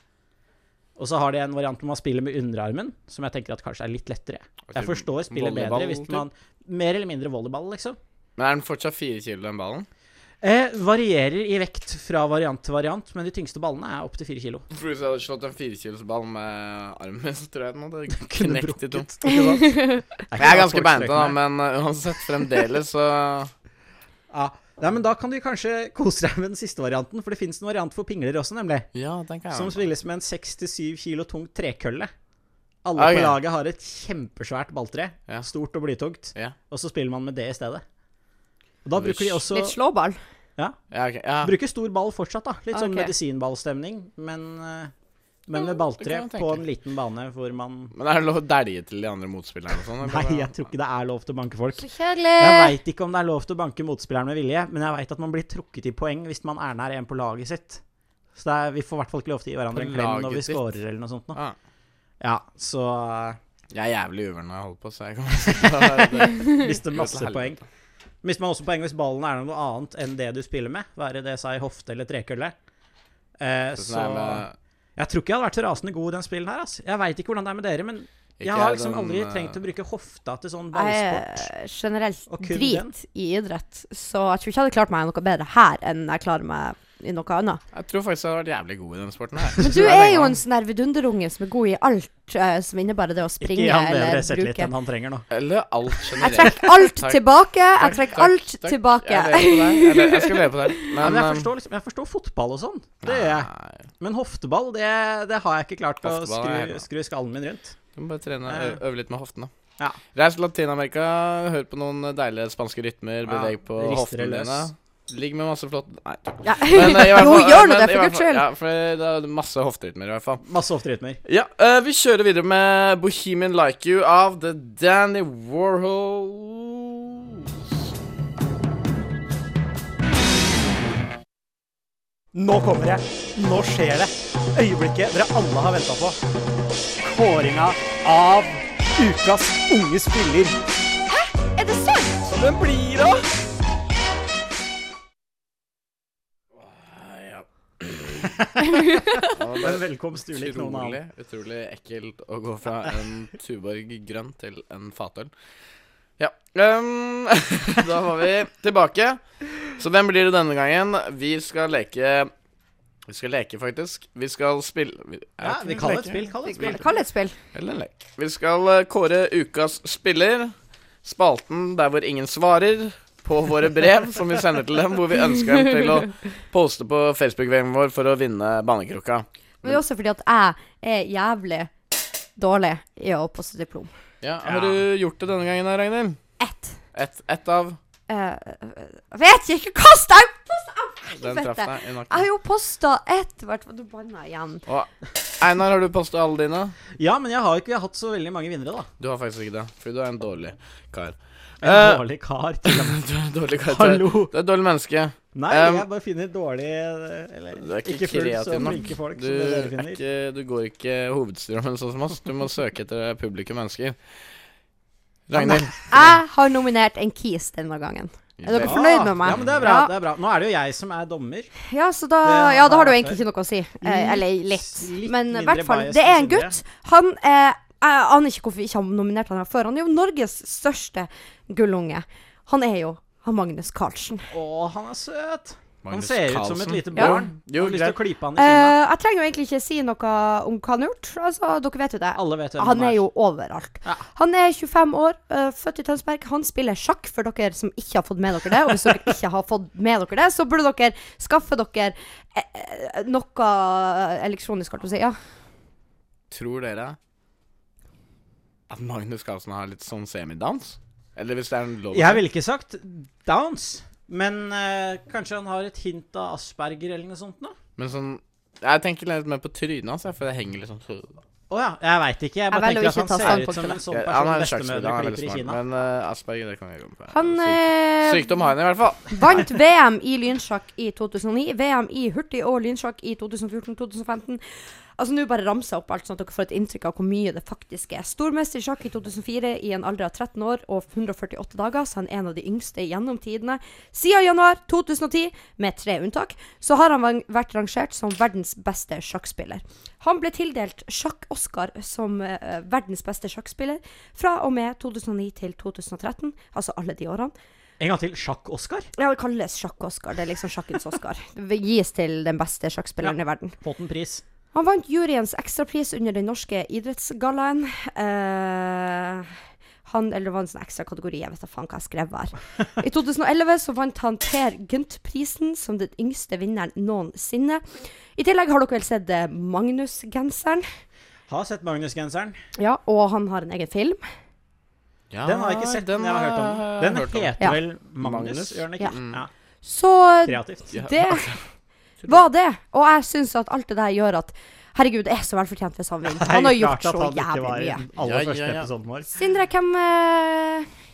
Speaker 3: Og så har de en variant hvor man spiller med underarmen, som jeg tenker at kanskje er litt lettere. Jeg forstår spillet
Speaker 1: Altså, volleyball,
Speaker 3: bedre hvis
Speaker 1: typ?
Speaker 3: man Mer eller mindre volleyball, liksom.
Speaker 1: Men er den fortsatt fire kilo, den ballen?
Speaker 3: Eh, varierer i vekt fra variant til variant, men de tyngste ballene er opptil fire kilo.
Speaker 1: For hvis jeg hadde slått en firekilosball med armen, så tror jeg den hadde
Speaker 3: Kunne
Speaker 1: knekt i to.
Speaker 3: brukket, ikke sant? Det ikke
Speaker 1: Jeg er
Speaker 3: hva
Speaker 1: ganske
Speaker 3: folk
Speaker 1: beinete, da,
Speaker 3: streker med.
Speaker 1: men uh, uansett, fremdeles så
Speaker 3: Ja. Nei, men Da kan du kanskje kose deg med den siste varianten, for det fins en variant for pingler også, nemlig.
Speaker 1: Ja, den kan jeg være
Speaker 3: Som
Speaker 1: med på.
Speaker 3: spilles med en 6-7 kilo tung trekølle. Alle
Speaker 1: Ok.
Speaker 3: på laget har et kjempesvært balltre.
Speaker 1: Ja.
Speaker 3: Stort og blytungt.
Speaker 1: Ja.
Speaker 3: Og så spiller man med det i stedet. Og Og da bruker de også
Speaker 4: Litt slåball.
Speaker 1: Ja, ok. Ja.
Speaker 3: Bruker stor ball fortsatt, da. Litt sånn
Speaker 4: Ok.
Speaker 3: medisinballstemning, men, eh,
Speaker 1: Ja,
Speaker 3: men med
Speaker 1: det
Speaker 3: balltre
Speaker 1: kan jeg
Speaker 3: på
Speaker 1: tenke.
Speaker 3: en liten bane hvor man
Speaker 1: Men er det lov å dælje til de andre motspillerne og sånn?
Speaker 3: Nei, jeg tror ikke det er lov til å banke folk.
Speaker 4: Så kjedelig.
Speaker 3: Jeg veit ikke om det er lov til å banke motspilleren med vilje, men jeg veit at man blir trukket i poeng hvis man er nær en på laget sitt. Så det er, vi får i hvert fall ikke lov til å gi hverandre
Speaker 1: På
Speaker 3: en klem når
Speaker 1: laget
Speaker 3: vi
Speaker 1: ditt?
Speaker 3: scorer eller noe sånt. Nå.
Speaker 1: Ah.
Speaker 3: Ja, så
Speaker 1: Jeg er jævlig uvern når jeg holder på, så jeg kommer til å
Speaker 3: eh, mister masse
Speaker 1: Helvete.
Speaker 3: poeng. Mister man også poeng hvis ballen er noe annet enn det du spiller med, være det seg hofte eller trekølle. Eh, så
Speaker 1: Sånn er det-
Speaker 3: Jeg tror ikke jeg hadde vært så rasende god i den spillen her, ass. Jeg veit ikke hvordan det er med dere, men
Speaker 1: Ikke
Speaker 3: jeg har
Speaker 1: jeg,
Speaker 3: liksom
Speaker 1: den,
Speaker 3: aldri
Speaker 1: eh,
Speaker 3: trengt å bruke hofta til sånn
Speaker 4: Jeg
Speaker 3: ballsport.
Speaker 4: er generelt
Speaker 3: Og kun den.
Speaker 4: drit i idrett, så jeg tror ikke jeg hadde klart meg noe bedre her enn jeg klarer meg i noe annet.
Speaker 1: Jeg tror faktisk jeg hadde vært jævlig god i denne sporten her.
Speaker 4: Men du er jo en sånn der vidunderunge som er god i alt eh, som innebærer det å springe
Speaker 3: Ikke gi han
Speaker 4: eller
Speaker 3: bedre selvtillit
Speaker 4: bruke.
Speaker 3: enn han trenger nå.
Speaker 1: Eller alt
Speaker 4: Jeg
Speaker 1: generelt.
Speaker 4: trekker alt
Speaker 1: Takk.
Speaker 4: tilbake. Jeg
Speaker 1: Takk,
Speaker 4: trekker
Speaker 1: takk,
Speaker 4: alt
Speaker 1: takk. Jeg,
Speaker 4: tilbake.
Speaker 1: lever på deg. jeg, le- jeg skal leve på deg. Men,
Speaker 3: Ja, men jeg
Speaker 1: um,
Speaker 3: forstår, liksom, jeg forstår fotball og sånn, det gjør jeg.
Speaker 1: nei,
Speaker 3: Men hofteball, det, det har jeg ikke klart å
Speaker 1: Hofteball er
Speaker 3: skru,
Speaker 1: jeg-
Speaker 3: skru skallen min rundt.
Speaker 1: Du må bare trene, ø- øve litt med hoftene.
Speaker 3: Ja.
Speaker 1: Reis til Latin-Amerika, hør på noen deilige spanske rytmer,
Speaker 3: Ja,
Speaker 1: beveg på
Speaker 3: rister
Speaker 1: hoftene
Speaker 3: det løs.
Speaker 1: dine. Ligg med masse flott Nei.
Speaker 4: Ja.
Speaker 1: Men, eh, i hvert
Speaker 4: Jo,
Speaker 1: fall-
Speaker 4: gjør nå
Speaker 1: men
Speaker 4: det,
Speaker 1: i
Speaker 4: for
Speaker 1: hvert
Speaker 4: guds
Speaker 1: fall-
Speaker 4: skyld.
Speaker 1: Ja, for det er masse hofterytmer, i hvert fall.
Speaker 3: Masse hofterytmer.
Speaker 1: Ja, eh, vi kjører videre med Bohemian Like You av The Danny Warhols.
Speaker 3: Nå kommer jeg. Nå skjer det. Øyeblikket dere alle har venta på. Kåringa av ukas unge spiller.
Speaker 4: Er det sant?
Speaker 3: Hvem blir det? Men velkomst ulik noen
Speaker 1: Utrolig,
Speaker 3: annen.
Speaker 1: utrolig ekkelt å gå fra en Tuborg grønn til en fatøl. Ja. ehm, da var vi tilbake. Så hvem blir det denne gangen? Vi skal leke Vi skal leke, faktisk. Vi skal spille vi-
Speaker 3: Ja,
Speaker 1: er det
Speaker 3: vi
Speaker 1: ikke
Speaker 3: kaller
Speaker 1: leke?
Speaker 3: det et spill. Kaller det et spill.
Speaker 4: Kall det et spill.
Speaker 1: Eller en lek. Vi skal eh, kåre ukas spiller. Spalten der hvor ingen svarer på våre brev som vi sender til dem, hvor vi ønsker dem til å poste på Facebook-veggen vår for å vinne Banekrukka.
Speaker 4: Men det er også fordi at jeg er jævlig dårlig i å poste diplom.
Speaker 1: Ja, Har du gjort det denne gangen, da, Ragnhild?
Speaker 4: Ett.
Speaker 1: Ett ett av
Speaker 4: Eh, jeg vet ikke! Kast deg! Post- Au,
Speaker 1: den traff
Speaker 4: helvete.
Speaker 1: deg i
Speaker 4: Jeg har
Speaker 1: nakken.
Speaker 4: jo posta ett hvert fall. Du banna igjen.
Speaker 1: Og Einar, har du posta alle dine?
Speaker 3: Ja, men jeg har ikke hatt så veldig mange vinnere, da.
Speaker 1: Du har faktisk ikke det, fordi du er en dårlig kar.
Speaker 3: En
Speaker 1: Eh,
Speaker 3: dårlig kar. Til og med.
Speaker 1: Du er en dårlig kar. Du
Speaker 3: Hallo!
Speaker 1: er et dårlig menneske.
Speaker 3: Nei,
Speaker 1: Um,
Speaker 3: jeg bare finner dårlig Eller
Speaker 1: Du er ikke,
Speaker 3: ikke fullt så
Speaker 1: kreativ nok.
Speaker 3: flinke folk
Speaker 1: Du,
Speaker 3: som det dere
Speaker 1: er
Speaker 3: finner.
Speaker 1: ikke, du går ikke hovedstrømmen sånn som oss. Du må søke etter publikum mennesker. Ragnhild.
Speaker 4: Jeg har nominert en kis denne gangen. Er dere
Speaker 1: Ja.
Speaker 4: fornøyd med meg?
Speaker 3: Ah, Ja, men det er bra.
Speaker 4: Ja.
Speaker 3: det er bra Nå er det jo jeg som er dommer.
Speaker 4: Ja, så da,
Speaker 3: Det
Speaker 4: ja, da
Speaker 3: har
Speaker 4: har du
Speaker 3: jeg
Speaker 4: egentlig ikke noe å si. Eh,
Speaker 3: Litt-
Speaker 4: Eller litt.
Speaker 3: litt
Speaker 4: Men i
Speaker 3: mindre
Speaker 4: hvert fall,
Speaker 3: bias
Speaker 4: det er
Speaker 3: enn
Speaker 4: en gutt. Han eh, Jeg aner ikke hvorfor vi ikke har nominert han her før. Han er jo Norges største gullunge. Han er jo han Magnus Carlsen.
Speaker 3: Å, han er søt! Han
Speaker 1: Magnus
Speaker 3: ser ut som
Speaker 1: Carlsen.
Speaker 3: et lite
Speaker 1: Ja.
Speaker 3: barn.
Speaker 1: Jo,
Speaker 3: har lyst til å
Speaker 1: greit.
Speaker 3: klype han i kinnet.
Speaker 4: Eh, jeg trenger jo egentlig ikke si noe om hva han har gjort. Altså, dere vet jo det.
Speaker 3: Alle vet hvem
Speaker 4: Han er jo overalt.
Speaker 3: Ja.
Speaker 4: Han er 25 år, eh, født i Tønsberg. Han spiller sjakk, for dere som ikke har fått med dere det. Og hvis dere ikke har fått med dere det, så burde dere skaffe dere eh, eh, noe eh, elektronisk, holdt jeg på å si. Ja.
Speaker 1: Tror dere at Magnus Carlsen har litt sånn semidans? Eller hvis det er en lov å si.
Speaker 3: Jeg ville ikke sagt downs, men eh, kanskje han har et hint av asperger eller noe sånt nå?
Speaker 1: Men sånn Jeg tenker litt mer på trynet hans, jeg, for det henger litt sånn
Speaker 3: Å ja, jeg veit ikke. Jeg
Speaker 4: Jeg
Speaker 3: bare
Speaker 4: velger
Speaker 3: tenker
Speaker 4: å ikke
Speaker 3: at
Speaker 4: ta
Speaker 3: han
Speaker 4: stand
Speaker 3: ser
Speaker 4: på
Speaker 3: ut som
Speaker 4: det.
Speaker 3: en sånn
Speaker 1: Ja,
Speaker 3: person
Speaker 1: han er en sjakkspiller, han
Speaker 3: bestemødre
Speaker 1: er veldig
Speaker 3: klyper i
Speaker 1: smart.
Speaker 3: Kina.
Speaker 1: Men eh, Asperger, det kan vi komme på.
Speaker 4: Han
Speaker 1: Syk-
Speaker 4: eh,
Speaker 1: Sykdom har han i hvert fall.
Speaker 4: vant VM i lynsjakk i 2009, VM i hurtig og lynsjakk i 2014-2015. Altså Nå bare ramser jeg opp alt, sånn at dere får et inntrykk av hvor mye det faktisk er. Stormester i sjakk i 2004 i en alder av 13 år og 148 dager, så han er en av de yngste gjennom tidene. Siden januar 2010, med tre unntak, så har han vang- vært rangert som verdens beste sjakkspiller. Han ble tildelt sjakk-Oscar som eh, verdens beste sjakkspiller fra og med 2009 til 2013, altså alle de årene.
Speaker 3: En gang til. Sjakk-Oskar?
Speaker 4: Ja, det kalles sjakk-Oscar. Det er liksom sjakkens Oscar. Det gis til den beste sjakkspilleren i verden.
Speaker 3: Fått en pris.
Speaker 4: Han vant juryens ekstrapris under den norske idrettsgallaen. Eh, han, eller det var en sånn ekstra kategori, jeg vet da faen hva jeg skrev her. I 2011 så vant han Per Gynt-prisen som den yngste vinneren noensinne. I tillegg har dere vel sett eh, Magnus-genseren.
Speaker 3: Har sett Magnus-genseren.
Speaker 4: Ja, og han har en egen film.
Speaker 1: Ja,
Speaker 3: Den har jeg ikke sett, men jeg har hørt om den. Den
Speaker 1: hørt om.
Speaker 3: heter
Speaker 4: Ja.
Speaker 3: vel Magnus,
Speaker 1: Magnus?
Speaker 3: gjør den ikke?
Speaker 1: Mm.
Speaker 3: Ja.
Speaker 4: Så
Speaker 3: Kreativt.
Speaker 1: Ja.
Speaker 4: det var det. Og jeg syns at alt det der gjør at Herregud, det er så velfortjent hvis han vinner. Han har
Speaker 3: Det er
Speaker 4: gjort
Speaker 3: klart at
Speaker 4: så
Speaker 3: han ikke
Speaker 4: jævlig
Speaker 3: var i
Speaker 4: mye.
Speaker 3: den Aller
Speaker 1: Ja, ja,
Speaker 3: første
Speaker 1: ja.
Speaker 3: episoden vår.
Speaker 4: Sindre, hvem eh,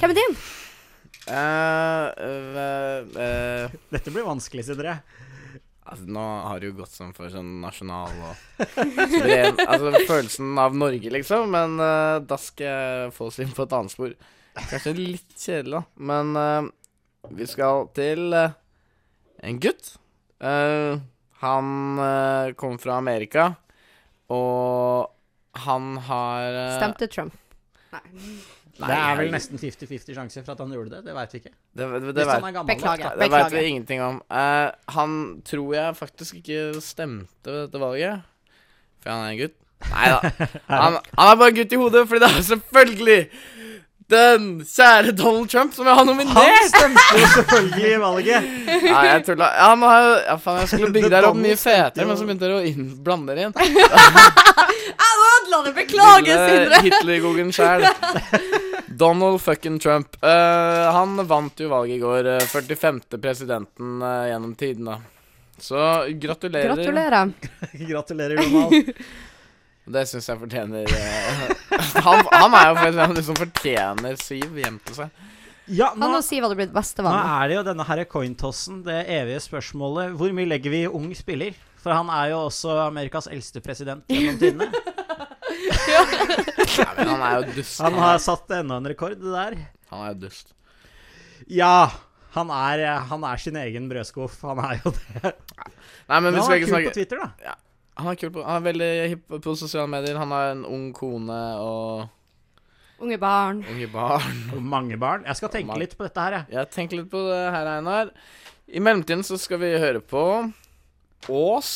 Speaker 4: Hvem er din?
Speaker 1: Eh, eh, eh,
Speaker 3: Dette blir vanskelig, Sindre.
Speaker 1: altså, nå har det jo gått sånn for sånn nasjonal og spren, Altså følelsen av Norge, liksom. Men eh, da skal jeg få oss inn på et annet spor. Kanskje litt kjedelig, da. Men eh, vi skal til eh, en gutt. Eh, han eh, kommer fra Amerika, og han har eh,
Speaker 4: Stemte Trump.
Speaker 1: Nei,
Speaker 3: det er vel
Speaker 1: jeg-
Speaker 3: nesten 50-50 sjanse for at han gjorde det. Det veit vi ikke.
Speaker 1: Det, det, det,
Speaker 3: Hvis
Speaker 1: vet-
Speaker 3: han er gammel nok,
Speaker 4: Beklager.
Speaker 3: da.
Speaker 1: Det veit vi ingenting om. Eh, han tror jeg faktisk ikke stemte ved dette valget. For han er en gutt. Nei da. Han, han er bare en gutt i hodet, fordi det er selvfølgelig den kjære Donald Trump som jeg har
Speaker 3: Han
Speaker 1: nominert!
Speaker 3: stemte jo selvfølgelig i valget!
Speaker 1: Nei, jeg tulla. Han har jo ja, faen, Jeg skulle bygge
Speaker 3: The
Speaker 1: der opp
Speaker 3: Donald
Speaker 1: mye
Speaker 3: stemte jo.
Speaker 1: fetere, men så begynte dere å inn, blande dere inn.
Speaker 4: Ødela det! Beklager, Sindre.
Speaker 1: Hitlergogen sjæl. Donald fucking Trump. Eh, han vant jo valget i går. eh, 45. presidenten eh, gjennom tidene. Så gratulerer.
Speaker 4: Gratulerer.
Speaker 3: Gratulerer, Donald.
Speaker 1: Det syns jeg fortjener eh, han, han er jo faktisk en som fortjener Siv hjem til seg.
Speaker 3: Ja, nå,
Speaker 4: Han og Siv hadde blitt
Speaker 3: nå
Speaker 4: bestevenner.
Speaker 3: er det jo denne her cointossen, det evige spørsmålet. Hvor mye legger vi i ung spiller? For han er jo også Amerikas eldste president gjennom tidene.
Speaker 1: Nei, men han er jo dust.
Speaker 3: Han har satt enda en rekord, det der.
Speaker 1: han er jo dust.
Speaker 3: Ja, han er, han er sin egen brødskuff. Han er jo det.
Speaker 1: Nei, men
Speaker 3: Men
Speaker 1: vi
Speaker 3: han
Speaker 1: skal
Speaker 3: er
Speaker 1: ikke
Speaker 3: kul på
Speaker 1: snakke
Speaker 3: Twitter, da.
Speaker 1: Han er kul på Han er veldig hipp på sosiale medier. Han har en ung kone og
Speaker 4: Unge barn.
Speaker 1: unge barn.
Speaker 3: Og mange barn. Jeg skal tenke
Speaker 1: mange.
Speaker 3: litt på dette her, jeg.
Speaker 1: Jeg tenker litt på det her, Einar. I mellomtiden så skal vi høre på Ås.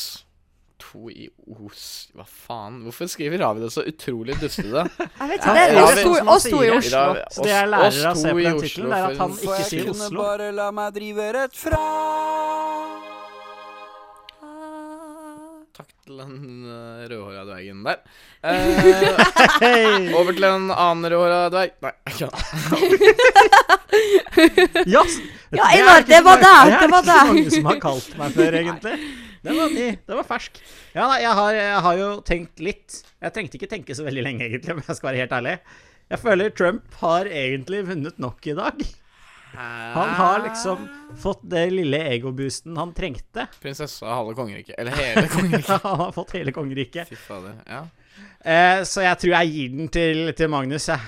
Speaker 1: To i Os Hva faen? Hvorfor skriver Ravi det så utrolig dustete?
Speaker 4: Jeg vet
Speaker 3: Ja,
Speaker 4: ikke, det
Speaker 1: ja,
Speaker 4: er oss
Speaker 1: vi-
Speaker 3: som
Speaker 4: to,
Speaker 3: han
Speaker 4: oss to i
Speaker 3: sier.
Speaker 1: I
Speaker 4: Oslo.
Speaker 1: dag-
Speaker 3: Så det jeg
Speaker 1: oss-
Speaker 3: lærer
Speaker 1: oss
Speaker 3: av å se
Speaker 1: to
Speaker 3: på
Speaker 1: i
Speaker 3: den
Speaker 1: Oslo,
Speaker 3: tittelen, er at
Speaker 1: for-
Speaker 3: han ikke sier Oslo.
Speaker 1: Takk til den eh, rødhåra dvergen der. Eh,
Speaker 3: Hei!
Speaker 1: over til en annen rødhåra dverg. Nei, ikke han.
Speaker 3: Ja, s-
Speaker 4: Ja,
Speaker 3: er
Speaker 4: Einar,
Speaker 3: ikke
Speaker 4: det
Speaker 3: så
Speaker 4: var
Speaker 3: mange-
Speaker 4: deg, det var
Speaker 3: Det er ikke så
Speaker 4: deg.
Speaker 3: mange som har kalt meg før, egentlig. Den var ny. Den var fersk. Ja, nei, jeg har, jeg har jo tenkt litt. Jeg trengte ikke tenke så veldig lenge, egentlig, om jeg skal være helt ærlig. Jeg føler Trump har egentlig vunnet nok i dag. Han har
Speaker 1: Ah.
Speaker 3: liksom fått det lille egoboosten han trengte.
Speaker 1: Prinsessa av halve kongeriket. Eller hele kongeriket.
Speaker 3: Han har fått hele kongeriket.
Speaker 1: Fy fader. Ja.
Speaker 3: Eh, så jeg tror jeg gir den til, til Magnus, jeg.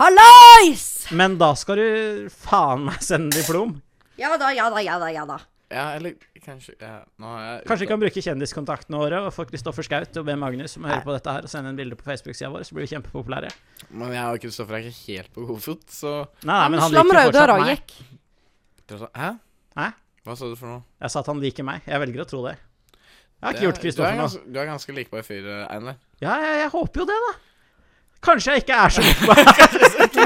Speaker 4: Hallais!
Speaker 3: Men da skal du faen meg sende diplom.
Speaker 4: Ja da, ja da, ja da. ja da.
Speaker 1: ja, eller kanskje ja. Nå har jeg
Speaker 3: Kanskje vi kan bruke kjendiskontaktene våre og få Kristoffer Schau til å be Magnus om å høre på dette her og sende en bilde på Facebook-sida vår, så blir vi kjempepopulære.
Speaker 1: Men jeg og Kristoffer er ikke helt på god fot, så
Speaker 3: Nei, nei,
Speaker 4: Han,
Speaker 3: men han
Speaker 4: slamra
Speaker 3: liker
Speaker 4: jo døra
Speaker 3: fortsatt
Speaker 4: og
Speaker 3: meg.
Speaker 4: gikk.
Speaker 1: Hæ?
Speaker 3: Hæ?
Speaker 1: Hva sa du for noe?
Speaker 3: Jeg sa at han liker meg. Jeg velger å tro det. Jeg har
Speaker 1: Det
Speaker 3: ikke
Speaker 1: er-
Speaker 3: gjort
Speaker 1: du
Speaker 3: Kristoffer
Speaker 1: er
Speaker 3: nå.
Speaker 1: ganske- Du er ganske likbar fyr, eh, Einar.
Speaker 3: Ja, jeg, jeg håper jo det, da. Kanskje jeg ikke er så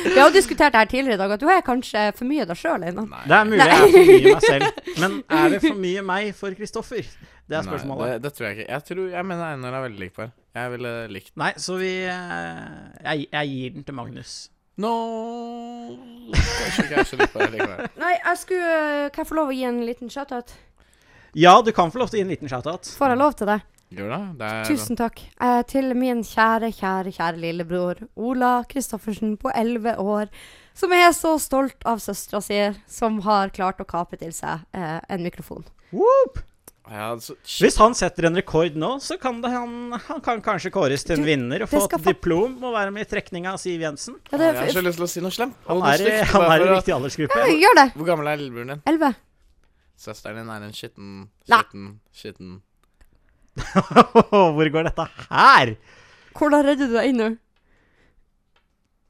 Speaker 4: Vi har jo diskutert det her tidligere i dag, at du er kanskje for mye deg sjøl ennå.
Speaker 3: Det er mulig jeg er for mye meg selv. Men er det for mye meg for Kristoffer? Det
Speaker 1: Nei,
Speaker 3: er spørsmålet.
Speaker 1: det, det tror jeg ikke. Jeg, tror, jeg mener Einar er veldig likbar. Jeg ville likt
Speaker 3: Nei, så vi eh, Jeg, jeg gir den til Magnus.
Speaker 1: No Kanskje ikke jeg er så likbar likevel.
Speaker 4: Nei, jeg skulle eh, Kan jeg få lov å gi en liten shout-out?
Speaker 3: Ja, du kan få lov til å gi en liten shout-out.
Speaker 4: Får jeg lov til det?
Speaker 1: Jo da, det er
Speaker 4: Tusen takk. Eh, til min kjære, kjære, kjære lillebror Ola Kristoffersen på 11 år, som er så stolt av søstera si, som har klart å kape til seg eh, en mikrofon.
Speaker 3: Whoop!
Speaker 1: ja, altså, så,
Speaker 3: Hvis han setter en rekord nå, så kan det han, han kan kanskje kåres til en
Speaker 4: Du,
Speaker 3: vinner og
Speaker 4: det
Speaker 3: få
Speaker 4: skal
Speaker 3: et
Speaker 4: fa-
Speaker 3: diplom og være med i trekninga av Siv Jensen.
Speaker 4: Ja,
Speaker 1: Jeg
Speaker 4: det,
Speaker 1: har så lyst til å si noe slemt.
Speaker 3: Han
Speaker 1: og noe
Speaker 3: er, i-
Speaker 1: stygt,
Speaker 3: han
Speaker 1: bare
Speaker 3: er i
Speaker 1: for å-
Speaker 3: riktig aldersgruppe.
Speaker 4: ja, gjør det.
Speaker 1: Hvor gammel er lillebroren din?
Speaker 4: 11.
Speaker 1: Søsteren din er en skitten,
Speaker 4: Nei.
Speaker 1: skitten, skitten
Speaker 3: Hvor går dette her?
Speaker 4: Hvordan redder du deg inn nå?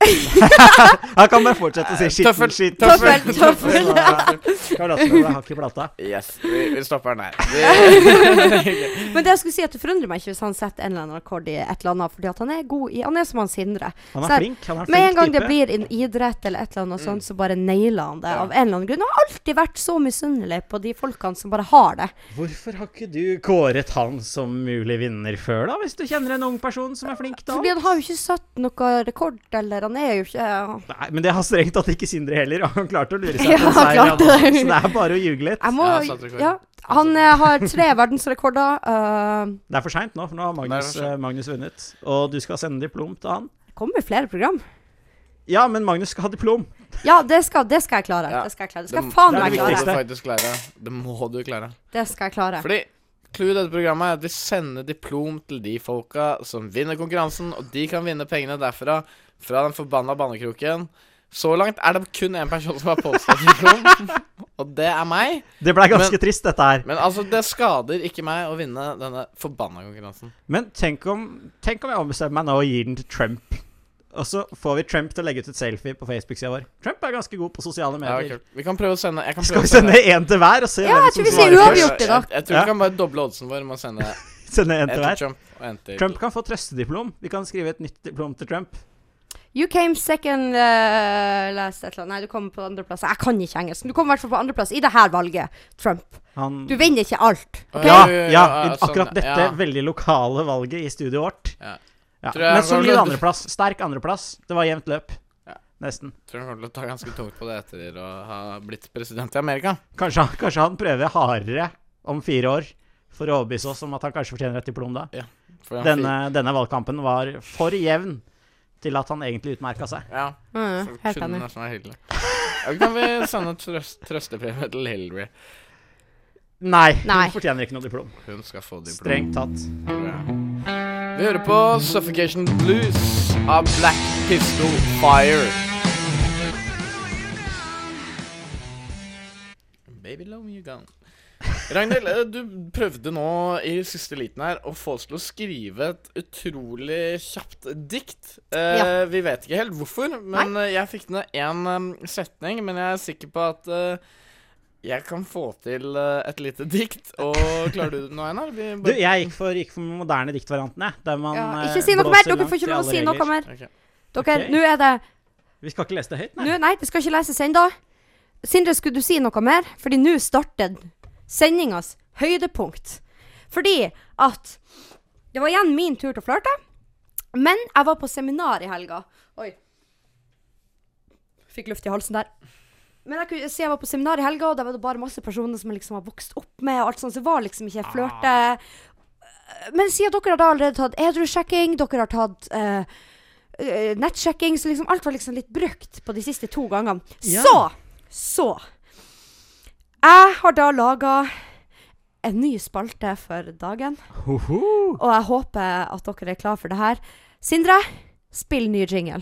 Speaker 3: Han kan bare fortsette å si skitten
Speaker 1: Tøffel,
Speaker 3: skitt.
Speaker 1: tøffel,
Speaker 4: Tøffel, tøffel.
Speaker 3: Karlatsnåla hakk i plata.
Speaker 1: Yes, vi, vi stopper den her. Vi,
Speaker 4: Men det jeg skulle si at det forundrer meg ikke hvis han setter en eller annen rekord i et eller annet, fordi at han er god i Han er som han Sindre.
Speaker 3: Han
Speaker 4: Så
Speaker 3: er
Speaker 4: her-
Speaker 3: flink. Han er flink
Speaker 4: Med en gang
Speaker 3: type.
Speaker 4: det blir en idrett eller et eller annet sånt, så bare nailer han det av en eller annen grunn. Han har alltid vært så misunnelig på de folkene som bare har det.
Speaker 3: Hvorfor har ikke du kåret han som mulig vinner før, da? Hvis du kjenner en ung person som er flink da?
Speaker 4: Fordi han har jo ikke satt noen rekord, eller han er jo ikke
Speaker 3: Nei, men det har strengt tatt ikke Sindre heller. og Han klarte å lure seg
Speaker 4: Ja,
Speaker 3: til en
Speaker 4: han
Speaker 3: seier, han
Speaker 4: klarte
Speaker 3: også,
Speaker 4: det.
Speaker 3: så det er bare å ljuge litt.
Speaker 4: Jeg må
Speaker 1: Ja, han satte rekord.
Speaker 4: Ja. Han eh, har tre verdensrekorder. eh,
Speaker 3: Det er for seint nå, for nå har Magnus,
Speaker 1: Det er for sent.
Speaker 3: eh, Magnus vunnet. Og du skal sende diplom til han.
Speaker 4: Det kommer flere program.
Speaker 3: Ja, men Magnus skal ha diplom.
Speaker 4: Ja, det skal, det skal jeg klare.
Speaker 1: Ja.
Speaker 4: Det skal jeg klare. Det skal jeg
Speaker 1: Det-
Speaker 4: faen
Speaker 3: det er
Speaker 4: meg
Speaker 1: Det må
Speaker 4: klare.
Speaker 1: du faktisk klare. Det må du klare.
Speaker 4: Det skal jeg klare.
Speaker 1: Fordi clouet i dette programmet er at vi sender diplom til de folka som vinner konkurransen, og de kan vinne pengene derfra, fra den forbanna bannekroken. Så langt er det kun én person som har påstått diplom, og det er meg.
Speaker 3: Det blei ganske
Speaker 1: Men-
Speaker 3: trist, dette her.
Speaker 1: Men altså, det skader ikke meg å vinne denne forbanna konkurransen.
Speaker 3: Men tenk om, tenk om jeg ombestemmer meg nå og gir den til Trump. Og så får vi Trump til å legge ut et selfie på Facebook-sida vår. Trump er ganske god på sosiale
Speaker 1: Ja,
Speaker 3: medier.
Speaker 1: kult. Vi kan prøve å sende jeg kan
Speaker 3: Skal
Speaker 1: prøve å
Speaker 3: vi sende én til hver, og se
Speaker 4: Ja, jeg
Speaker 3: hvem
Speaker 4: tror
Speaker 3: som
Speaker 4: vi sier
Speaker 3: svarer
Speaker 4: uavgjort.
Speaker 3: først?
Speaker 1: Jeg,
Speaker 4: i dag?
Speaker 1: jeg tror
Speaker 3: Ja.
Speaker 1: vi kan bare doble oddsen vår med å sende
Speaker 3: Sende én
Speaker 1: en
Speaker 3: til
Speaker 1: til
Speaker 3: hver.
Speaker 1: Trump og en til
Speaker 3: Trump kan få trøstediplom. Vi kan skrive et nytt diplom til Trump.
Speaker 4: You came second eh, last et eller annet. Nei, du kom på andreplass. Jeg kan ikke engelsk, men du kom i hvert fall på andreplass i det her valget, Trump.
Speaker 3: Han
Speaker 4: Du vinner ikke alt.
Speaker 1: Å,
Speaker 3: Ja,
Speaker 1: jo, jo, jo,
Speaker 3: ja,
Speaker 1: ja, sånn,
Speaker 3: akkurat dette
Speaker 1: ja.
Speaker 3: veldig lokale valget i studioet vårt.
Speaker 1: Ja.
Speaker 3: Ja.
Speaker 1: Tror jeg-
Speaker 3: Men solid andreplass. Sterk andreplass. Det var jevnt løp.
Speaker 1: Ja.
Speaker 3: Nesten.
Speaker 1: Tror han kommer til å ta ganske tungt på det etter å ha blitt president i Amerika.
Speaker 3: Kanskje, han- kanskje han prøver hardere om fire år for å overbevise oss om at han kanskje fortjener et diplom da.
Speaker 1: For han
Speaker 3: Denne, denne valgkampen var for jevn til at han egentlig utmerka seg.
Speaker 1: fi- Ja,
Speaker 4: Mm,
Speaker 1: for
Speaker 4: helt
Speaker 1: kunne
Speaker 4: enig.
Speaker 1: nesten være hyggelig. Ja, kan vi sende et trøst, trøstepremie til Hillary?
Speaker 3: Nei,
Speaker 4: Nei.
Speaker 3: hun fortjener ikke noe diplom.
Speaker 1: Hun skal få diplom.
Speaker 3: Strengt tatt.
Speaker 1: tror jeg. Vi hører på Suffocation Blues av Black Pistol Fire. Baby love you gone. Ragnhild, eh, du prøvde nå i siste liten her å få oss til å skrive et utrolig kjapt dikt. Eh,
Speaker 4: Ja.
Speaker 1: Vi vet ikke helt hvorfor, men eh, jeg fikk ned én em, um, setning. Men jeg er sikker på at eh, jeg kan få til eh, et lite dikt. Og klarer du det nå, Einar? Vi
Speaker 3: Du, jeg gikk for, gikk for den moderne diktvarianten, jeg. Der man
Speaker 4: Ja,
Speaker 3: eh,
Speaker 4: ikke si noe
Speaker 3: blåser
Speaker 4: mer! Dere
Speaker 3: langt
Speaker 4: får
Speaker 3: i
Speaker 4: ikke lov å
Speaker 3: alle
Speaker 4: si noe
Speaker 3: regler.
Speaker 4: mer.
Speaker 1: Ok.
Speaker 4: Dere,
Speaker 3: Ok.
Speaker 4: nå er det
Speaker 3: Vi skal ikke lese det høyt, nei.
Speaker 4: Nå, nei, det skal ikke leses ennå. Sindre, skulle du si noe mer? Fordi nå starter sendingas høydepunkt. Fordi at Det var igjen min tur til å flørte. Men jeg var på seminar i helga. Oi. Fikk luft i halsen der. Men jeg kunne si jeg var på seminar i helga, og der var det bare masse personer som jeg liksom har vokst opp med. og alt sånt, Så det var liksom ikke flørte. Men siden dere har da allerede tatt edrusjekking, dere har tatt eh, eh, nettsjekking, så liksom alt var liksom litt brukt på de siste to gangene.
Speaker 3: Ja.
Speaker 4: Så, så Jeg har da laga en ny spalte for dagen,
Speaker 3: Hoho!
Speaker 4: og jeg håper at dere er klar for det her. Sindre, spill ny jingle.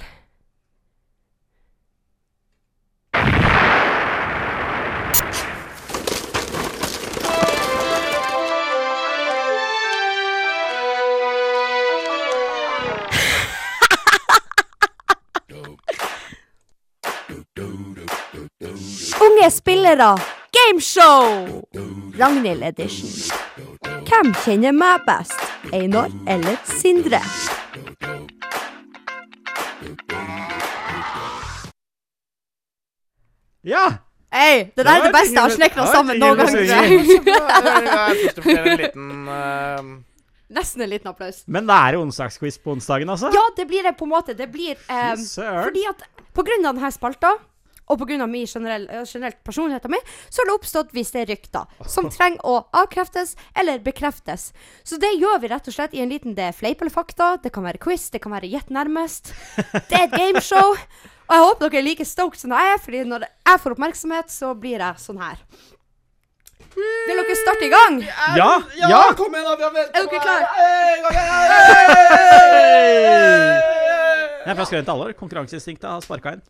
Speaker 4: Unge spillere, gameshow! Ragnhild Edition. Hvem kjenner meg best? Einar eller Sindre?
Speaker 3: Ja!
Speaker 4: Hei, det der er det beste jeg har snekra sammen noen gang. tror jeg.
Speaker 1: Jeg synes det blir en liten eh,
Speaker 4: Nesten en liten applaus.
Speaker 3: Men det er jo onsdagsquiz på onsdagen, altså?
Speaker 4: Ja, det blir det på en måte. Det blir eh,
Speaker 3: Fy søren.
Speaker 4: Fordi at på grunn av denne spalta, og pga. generell, eh, generelt personligheten min, så har det oppstått visse rykter som trenger å avkreftes eller bekreftes. Så det gjør vi rett og slett i en liten Det er fleip eller fakta, det kan være quiz, det kan være gjett nærmest. Det er et gameshow. Og jeg håper dere er like stoked som jeg er, fordi når jeg får oppmerksomhet, så blir jeg sånn her. Vil dere starte i gang?
Speaker 3: Ja! ja.
Speaker 1: Kom igjen, da! Vi har
Speaker 4: Er dere klare?
Speaker 3: Jeg er fra Skrønt Alvor. Konkurranseinstinktet har sparka inn.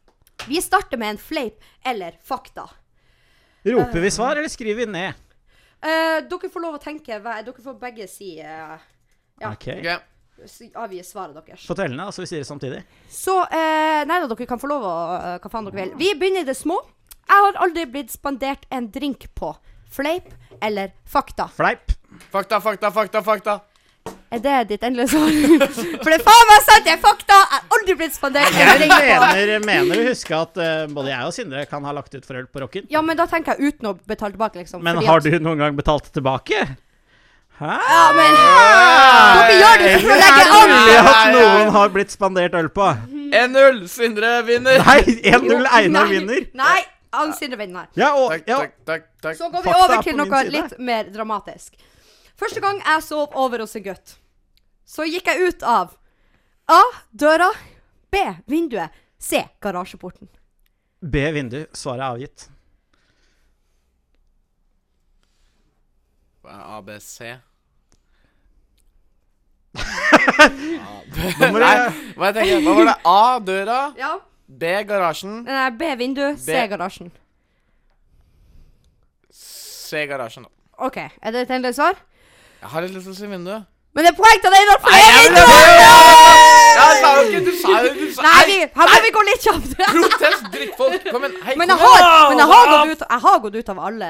Speaker 4: Vi starter med en fleip eller fakta.
Speaker 3: Roper
Speaker 4: Ehm.
Speaker 3: vi svar, eller skriver vi ned?
Speaker 4: Eh, dere får lov å tenke. hva- Dere får begge si eh, Ja.
Speaker 3: Ok.
Speaker 1: Ok,
Speaker 4: s- avgi svaret deres.
Speaker 3: På tellene, altså vi sier det samtidig.
Speaker 4: Så eh, Nei da, dere kan få lov å eh, Hva faen dere vil. Vi begynner i det små. Jeg har aldri blitt spandert en drink på. Fleip eller fakta?
Speaker 3: Fleip.
Speaker 1: Fakta, fakta, fakta, fakta.
Speaker 4: Er det ditt endelige svar? For det er faen meg sant, det er fakta! Jeg har aldri blitt spandert en
Speaker 3: Jeg
Speaker 4: drink på.
Speaker 3: mener, mener å huske at eh, både jeg og Sindre kan ha lagt ut for øl på Rocken.
Speaker 4: Ja, men da tenker jeg uten å betale tilbake, liksom.
Speaker 3: Men
Speaker 4: fordi
Speaker 3: har
Speaker 4: at-
Speaker 3: du noen gang betalt det tilbake? Hæ?
Speaker 4: Ja, men Dere gjør det for å
Speaker 3: Er
Speaker 4: legge
Speaker 3: det
Speaker 4: an!
Speaker 3: mulig at
Speaker 1: Nei, nei, nei.
Speaker 3: noen har blitt spandert øl på?
Speaker 1: 1-0. Sindre vinner.
Speaker 3: Nei, 1-0 Einar
Speaker 4: Nei,
Speaker 3: vinner.
Speaker 4: Nei, han Sindre vinner.
Speaker 3: Ja, og,
Speaker 1: Takk,
Speaker 3: ja.
Speaker 1: takk, takk. takk.
Speaker 4: Så går vi
Speaker 3: Fakta er
Speaker 4: over
Speaker 3: på
Speaker 4: til
Speaker 3: min
Speaker 4: noe
Speaker 3: side.
Speaker 4: litt mer dramatisk. Første gang jeg sov over hos en gutt, så gikk jeg ut av A. Døra. B. Vinduet. C. Garasjeporten.
Speaker 3: B vindu. Svaret er avgitt.
Speaker 1: ABC.
Speaker 3: Nå må
Speaker 1: Nei,
Speaker 3: du
Speaker 1: hva, jeg tenker, hva var det? A. Døra.
Speaker 4: Ja.
Speaker 1: B. Garasjen.
Speaker 4: Nei, B. Vindu. C.
Speaker 1: B.
Speaker 4: Garasjen.
Speaker 1: C. Garasjen.
Speaker 4: OK, er det et endelig svar?
Speaker 1: Jeg har litt lyst til å si vinduet.
Speaker 4: Men det er poeng til deg, Einar, for det er
Speaker 1: jeg vil
Speaker 4: vinduet!
Speaker 1: Ja, jeg sa jo ikke Du sa jo du sa-
Speaker 4: Nei, vi, her må vi gå litt kjapt.
Speaker 1: Protest, drittfolk! Kom igjen. Hei,
Speaker 4: Men
Speaker 1: kom
Speaker 4: jeg har,
Speaker 1: igjen.
Speaker 4: men jeg har, gått, ut, jeg har gått ut av alle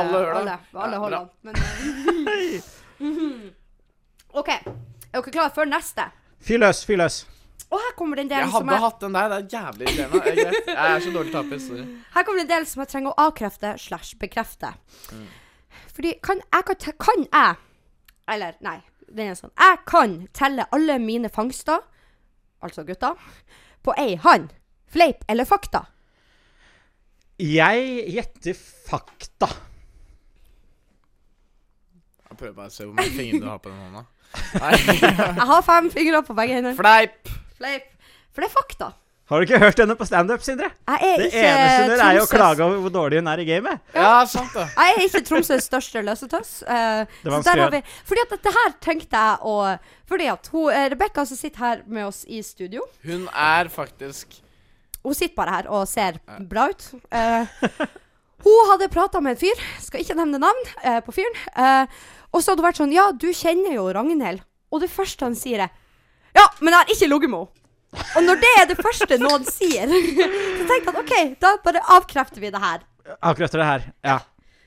Speaker 1: Alle høla.
Speaker 4: Alle, alle
Speaker 1: Ja,
Speaker 4: holdene.
Speaker 1: bra.
Speaker 4: Men, eh, Mhm. OK. Er dere klare før neste?
Speaker 3: Fyr løs, fyr løs.
Speaker 4: Og her kommer den
Speaker 1: Jeg
Speaker 4: delen som
Speaker 1: hadde
Speaker 4: jeg,
Speaker 1: hatt den der. Det er jævlig irriterende. Jeg, er greit. jeg er så dårlig taper. Sorry.
Speaker 4: her kommer den delen som jeg trenger å avkrefte slash bekrefte.
Speaker 3: Mm.
Speaker 4: Fordi kan jeg kan, te- kan jeg Eller, nei, den er sånn. Jeg kan telle alle mine fangster, altså gutta, på ei hand. Fleip eller fakta?
Speaker 3: Jeg gjetter fakta.
Speaker 1: Jeg prøver bare å se hvor mange fingre du har på den hånda. Nei.
Speaker 4: Jeg har fem fingre på begge hender.
Speaker 1: Fleip.
Speaker 4: Fleip. For det er fakta.
Speaker 3: Har du ikke hørt henne på standup, Sindre?
Speaker 4: Jeg er
Speaker 3: Det
Speaker 4: ikke
Speaker 3: eneste hun gjør, er jo å
Speaker 4: Tromsøs-
Speaker 3: klage over hvor dårlig hun er i gamet.
Speaker 1: Ja, sant det.
Speaker 4: Jeg er ikke Tromsøs største løsetøss. eh,
Speaker 3: Det
Speaker 4: så
Speaker 3: var en
Speaker 4: der har vi,
Speaker 3: skred.
Speaker 4: fordi at dette her tenkte jeg å Fordi at hun, eh, Rebecca som sitter her med oss i studio
Speaker 1: Hun er faktisk
Speaker 4: Hun sitter bare her og ser bra ut. Eh, hun hadde prata med en fyr, skal ikke nevne navn eh, på fyren. eh, og så hadde hun vært sånn Ja, du kjenner jo Ragnhild. Og det første han sier, er Ja, men jeg har ikke ligget med henne. Og når det er det første noen sier, så tenkte han OK, da bare avkrefter vi det her.
Speaker 3: Akkurat det her. Ja.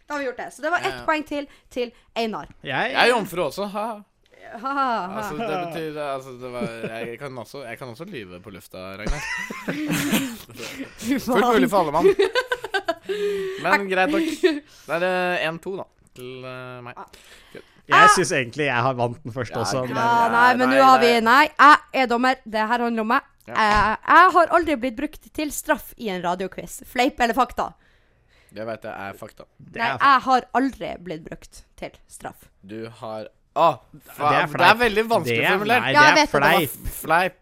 Speaker 4: Da har vi gjort det. Så det var ett
Speaker 1: Ja, ja.
Speaker 4: poeng til til Einar.
Speaker 3: Jeg,
Speaker 1: Jeg er jomfru også. Ha.
Speaker 4: Ha, ha, ha.
Speaker 1: Altså, det betyr altså, det var, jeg, kan også, jeg kan også lyve på lufta, Ragnar.
Speaker 4: Fy
Speaker 1: Fullt
Speaker 4: faen.
Speaker 1: mulig for alle mann. Men greit nok. Det er eh, 1-2, da. Til eh,
Speaker 3: Ah.
Speaker 1: meg.
Speaker 3: jeg syns egentlig jeg har vant den første
Speaker 1: Ja,
Speaker 3: også.
Speaker 1: greit.
Speaker 3: Men
Speaker 4: Ja, nei,
Speaker 1: Nei,
Speaker 4: men
Speaker 1: nei,
Speaker 4: nå har vi
Speaker 1: nei.
Speaker 4: Nei, jeg er dommer. Det her handler om meg.
Speaker 1: Ja.
Speaker 4: Eh, jeg har aldri blitt brukt til straff i en radioquiz. Fleip eller fakta?
Speaker 1: Det veit jeg er fakta.
Speaker 4: Nei,
Speaker 3: er
Speaker 4: jeg har aldri blitt brukt til straff.
Speaker 1: Du har Å, faen. Det, er
Speaker 3: Ah, fleip.
Speaker 1: veldig vanskelig
Speaker 3: Det er-
Speaker 1: formulert.
Speaker 3: Nei,
Speaker 4: Ja, jeg
Speaker 3: det er
Speaker 4: vet det, det var-
Speaker 3: fleip.
Speaker 1: Fleip.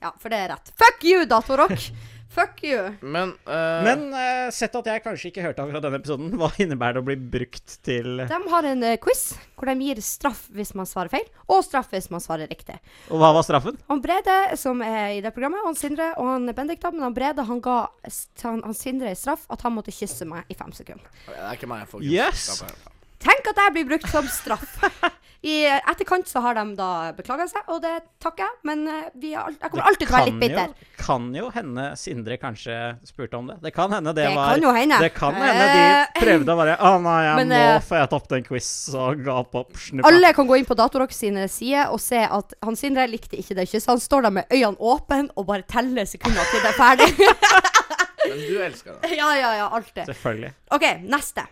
Speaker 4: Ja, for det er rett. Fuck you, Datorock! Fuck you.
Speaker 1: Men, eh,
Speaker 3: Men eh, sett at jeg kanskje ikke hørte akkurat denne episoden, hva innebærer det å bli brukt til
Speaker 4: De har en eh, quiz hvor de gir straff hvis man svarer feil, og straff hvis man svarer riktig.
Speaker 3: Og hva var straffen?
Speaker 4: Han Brede, som er i det programmet, og han Sindre og han Bendik, da, men han Brede han ga st- han, han Sindre i straff at han måtte kysse meg i fem sekunder.
Speaker 1: det er ikke meg, folkens.
Speaker 3: Yes.
Speaker 1: Slapp av.
Speaker 4: Tenk at jeg blir brukt som straff. I etterkant så har de da beklaga seg, og det takker jeg, men eh, vi er, al- jeg kommer alltid til å være litt bitter.
Speaker 3: jo, kan jo hende Sindre kanskje spurte om det. Det kan hende det,
Speaker 4: Det
Speaker 3: var
Speaker 4: kan jo hende. Eh.
Speaker 3: Det kan hende de prøvde å bare Å nei, jeg
Speaker 4: Men,
Speaker 3: må
Speaker 4: eh,
Speaker 3: få jeg tapt en quiz, og ga på snuppa.
Speaker 4: Alle kan gå inn på Datorock sine sider og se at han Sindre likte ikke det kysset. Han står der med øynene åpne og bare teller sekunder til det er ferdig.
Speaker 1: Men du elsker det.
Speaker 4: ja, ja, ja, alltid.
Speaker 3: Selvfølgelig.
Speaker 4: OK, neste.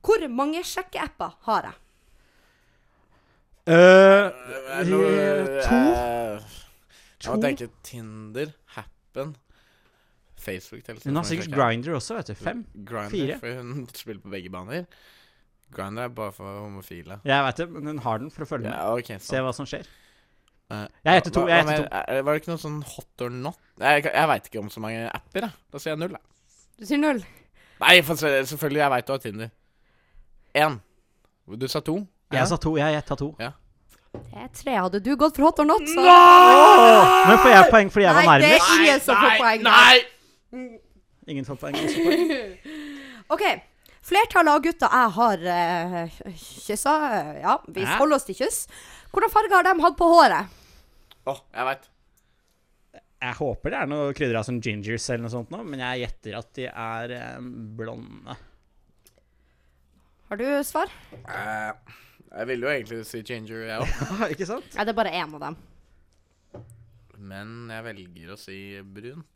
Speaker 4: Hvor mange sjekkeapper har jeg?
Speaker 3: Eh, to?
Speaker 1: Eh, Jeg må
Speaker 3: To?
Speaker 1: tenke Tinder, Happen, Facebook til
Speaker 3: Hun har sikkert Grinder også, vet du. Fem?
Speaker 1: Grinder,
Speaker 3: Fire.
Speaker 1: for hun spiller på begge baner. Grinder er bare for homofile.
Speaker 3: Jeg vet det, men hun har den for å følge med.
Speaker 1: Ja, ok,
Speaker 3: Se
Speaker 1: sant.
Speaker 3: hva som skjer.
Speaker 1: Eh,
Speaker 3: Jeg heter to,
Speaker 1: hva-
Speaker 3: jeg
Speaker 1: hva
Speaker 3: heter
Speaker 1: mer- er- Var det ikke noe sånn hot or not? Jeg, jeg veit ikke om så mange apper, jeg. Da sier jeg null, jeg.
Speaker 4: Du sier null.
Speaker 1: Nei, for se- selvfølgelig, jeg veit du har Tinder. Én. Du sa to.
Speaker 3: Jeg sa to, jeg gjetta to.
Speaker 4: Det er tre. Hadde du gått for hot or not, så
Speaker 3: Men får jeg poeng fordi jeg var
Speaker 4: Nei, det-
Speaker 3: nærmest?
Speaker 1: Nei,
Speaker 4: Ingen som får
Speaker 1: nei,
Speaker 4: poeng.
Speaker 1: Nei!
Speaker 3: Ingen får poeng. også poeng.
Speaker 4: OK. Flertallet av gutta jeg har uh, kyssa eh, Ja, vi
Speaker 3: Hæ?
Speaker 4: holder oss til kyss. Hvilken farge har de hatt på håret?
Speaker 1: Å, jeg veit.
Speaker 3: Jeg håper det er noe krydder av som gingers eller noe sånt, nå, men jeg gjetter at de er eh, blonde.
Speaker 4: Har du svar?
Speaker 3: Eh.
Speaker 1: jeg ville jo egentlig si ginger, jeg òg.
Speaker 3: Ikke sant?
Speaker 4: Ja, det er bare én av dem.
Speaker 1: Men jeg velger å si brunt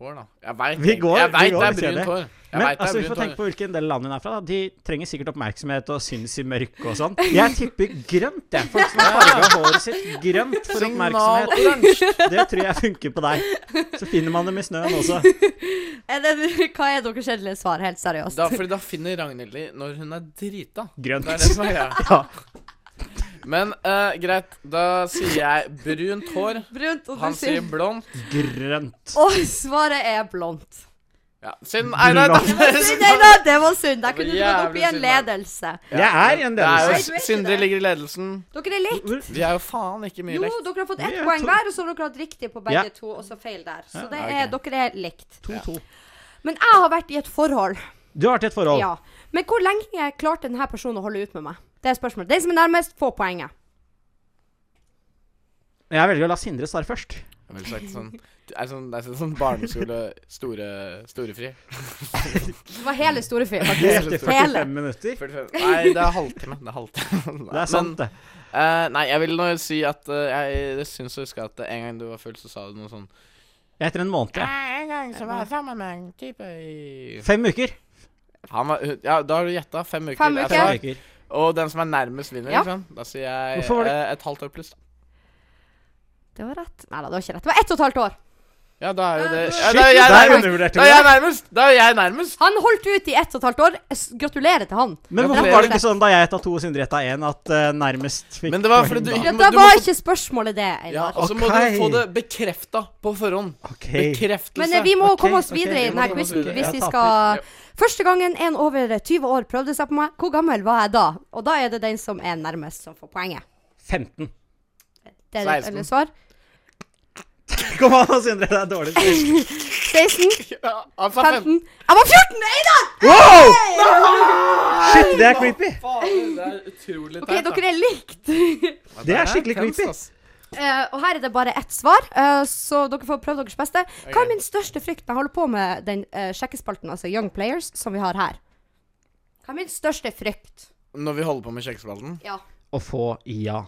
Speaker 1: hår, da. Jeg veit
Speaker 3: Vi går-
Speaker 1: jeg
Speaker 3: vi
Speaker 1: vet
Speaker 3: går,
Speaker 1: det er
Speaker 3: vi ser det.
Speaker 1: brunt hår. Jeg
Speaker 3: Men
Speaker 1: vet det
Speaker 3: altså,
Speaker 1: er
Speaker 3: vi får
Speaker 1: brunt hår.
Speaker 3: tenke på hvilken del av landet hun er fra. Da. De trenger sikkert oppmerksomhet og syns i mørket og sånn. Jeg tipper grønt, jeg. Folk som har farga håret sitt grønt for oppmerksomhet.
Speaker 1: Signalorange.
Speaker 3: Det tror jeg funker på deg. Så finner man dem i snøen også.
Speaker 4: Er det, hva er deres kjedelige svar, helt seriøst?
Speaker 1: Da, fordi da finner Ragnhild de når hun er drita.
Speaker 3: Grønt.
Speaker 1: Det er det som er greia.
Speaker 3: Ja.
Speaker 1: Men eh, greit, da sier jeg brunt hår.
Speaker 4: Brunt, og
Speaker 1: Han
Speaker 4: du
Speaker 1: sier
Speaker 4: sier
Speaker 1: blond.
Speaker 3: Grønt.
Speaker 4: Og svaret er blondt.
Speaker 1: Ja, synd. Nei, nei,
Speaker 3: Blond.
Speaker 1: det
Speaker 4: Det var synd, Einar, det var
Speaker 1: Det
Speaker 4: synd. Der
Speaker 1: var
Speaker 4: kunne du gått opp i en
Speaker 1: jævlig synd, da.
Speaker 4: ledelse.
Speaker 3: Jeg er i en
Speaker 1: Det er jo
Speaker 3: del.
Speaker 4: Nei, du er ikke
Speaker 1: Sindre
Speaker 4: det.
Speaker 1: ligger i ledelsen.
Speaker 4: Dere er likt.
Speaker 1: Vi er jo faen ikke mye
Speaker 4: Jo,
Speaker 1: lekt.
Speaker 4: dere har fått
Speaker 3: Vi
Speaker 4: ett
Speaker 3: er
Speaker 4: poeng
Speaker 3: to.
Speaker 4: hver, og så har dere hatt riktig på begge
Speaker 3: Ja.
Speaker 4: to, og så feil der. Så
Speaker 3: Ja.
Speaker 4: det
Speaker 1: Ja,
Speaker 4: er,
Speaker 1: ok.
Speaker 4: dere er likt.
Speaker 3: 2-2.
Speaker 4: Men jeg har vært i et forhold.
Speaker 3: Du har vært i et forhold.
Speaker 4: Ja. Men hvor lenge klarte denne personen å holde ut med meg? Det er spørsmålet. Den som er nærmest, får poenget.
Speaker 3: Jeg velger å la Sindre svare først.
Speaker 1: Jeg ville sagt sånn Det er sånn, det er sånn barneskole store, storefri.
Speaker 4: Det var hele storefyr,
Speaker 1: Hele
Speaker 4: faktisk.
Speaker 1: storefri.
Speaker 4: Hele.
Speaker 3: 45 minutter.
Speaker 1: 45. Nei, det er halvtime. Det er halvtime.
Speaker 3: Det er sant, det.
Speaker 1: Eh, nei, jeg vil nå si at eh, jeg syns å huske at eh, en gang du var full, så sa du noe sånn
Speaker 3: Jeg heter en måned, jeg.
Speaker 1: En gang så var jeg sammen med en type i
Speaker 3: Fem uker.
Speaker 1: Han var Ja, da har du gjetta. Fem uker.
Speaker 4: Fem
Speaker 1: Jeg
Speaker 4: uker.
Speaker 1: sa-
Speaker 3: Fem uker.
Speaker 1: Og den som er nærmest vinner,
Speaker 4: Ja.
Speaker 1: ikke sant? Da sier jeg
Speaker 3: Hvorfor var det-
Speaker 1: eh, et halvt år pluss. da.
Speaker 4: Det var rett. Nei da, det var ikke rett. Det var ett og et halvt år.
Speaker 1: Ja, da er jo det ja,
Speaker 3: Shit,
Speaker 1: Da er jeg
Speaker 3: der
Speaker 1: nærmest!
Speaker 3: undervurderte
Speaker 1: Da
Speaker 3: du
Speaker 1: er jeg
Speaker 3: det.
Speaker 1: nærmest! Da er jeg nærmest.
Speaker 4: Han holdt ut i ett og et halvt år. S- Gratulerer til han.
Speaker 3: Men hvorfor
Speaker 1: Ja,
Speaker 3: var det ikke sånn da jeg heta to og Sindre heta én, at eh, nærmest fikk
Speaker 1: Men det var
Speaker 3: poeng
Speaker 1: fordi du-
Speaker 3: da?
Speaker 4: Ja,
Speaker 1: må-
Speaker 4: da
Speaker 1: må
Speaker 4: var
Speaker 1: få-
Speaker 4: ikke spørsmålet det,
Speaker 1: Ja,
Speaker 4: Einar.
Speaker 1: og så må
Speaker 3: Ok.
Speaker 1: du få det bekrefta på forhånd.
Speaker 3: Ok.
Speaker 1: Bekreftelse.
Speaker 4: Men eh, vi må
Speaker 3: Ok,
Speaker 4: komme oss
Speaker 3: ok,
Speaker 4: videre
Speaker 3: vi må
Speaker 4: i denne
Speaker 1: komme oss
Speaker 4: quizen
Speaker 1: videre.
Speaker 4: hvis
Speaker 3: Jeg
Speaker 4: vi
Speaker 3: taper.
Speaker 4: skal Første gangen en over 20 år prøvde seg på meg, hvor gammel var jeg da? Og da er det den som er nærmest, som får poenget.
Speaker 3: 15.
Speaker 4: Det er rett
Speaker 1: 16.
Speaker 4: eller svar.
Speaker 3: Kom an, Sindre. Det er dårlig.
Speaker 4: 16,
Speaker 1: Ja, altså,
Speaker 4: 15 Jeg var 14! Einar!
Speaker 3: Wow! Shit, det er creepy.
Speaker 1: Faen, det er utrolig
Speaker 4: OK, dere er likt.
Speaker 3: Det er skikkelig creepy.
Speaker 4: Eh, og her er det bare ett svar, eh, så dere får prøve deres beste. Hva
Speaker 1: Ok.
Speaker 4: er min største frykt når jeg holder på med den eh, sjekkespalten, altså Young Players, som vi har her? Hva er min største frykt?
Speaker 1: Når vi holder på med kjekkespalten
Speaker 4: Ja.
Speaker 3: Å få ja.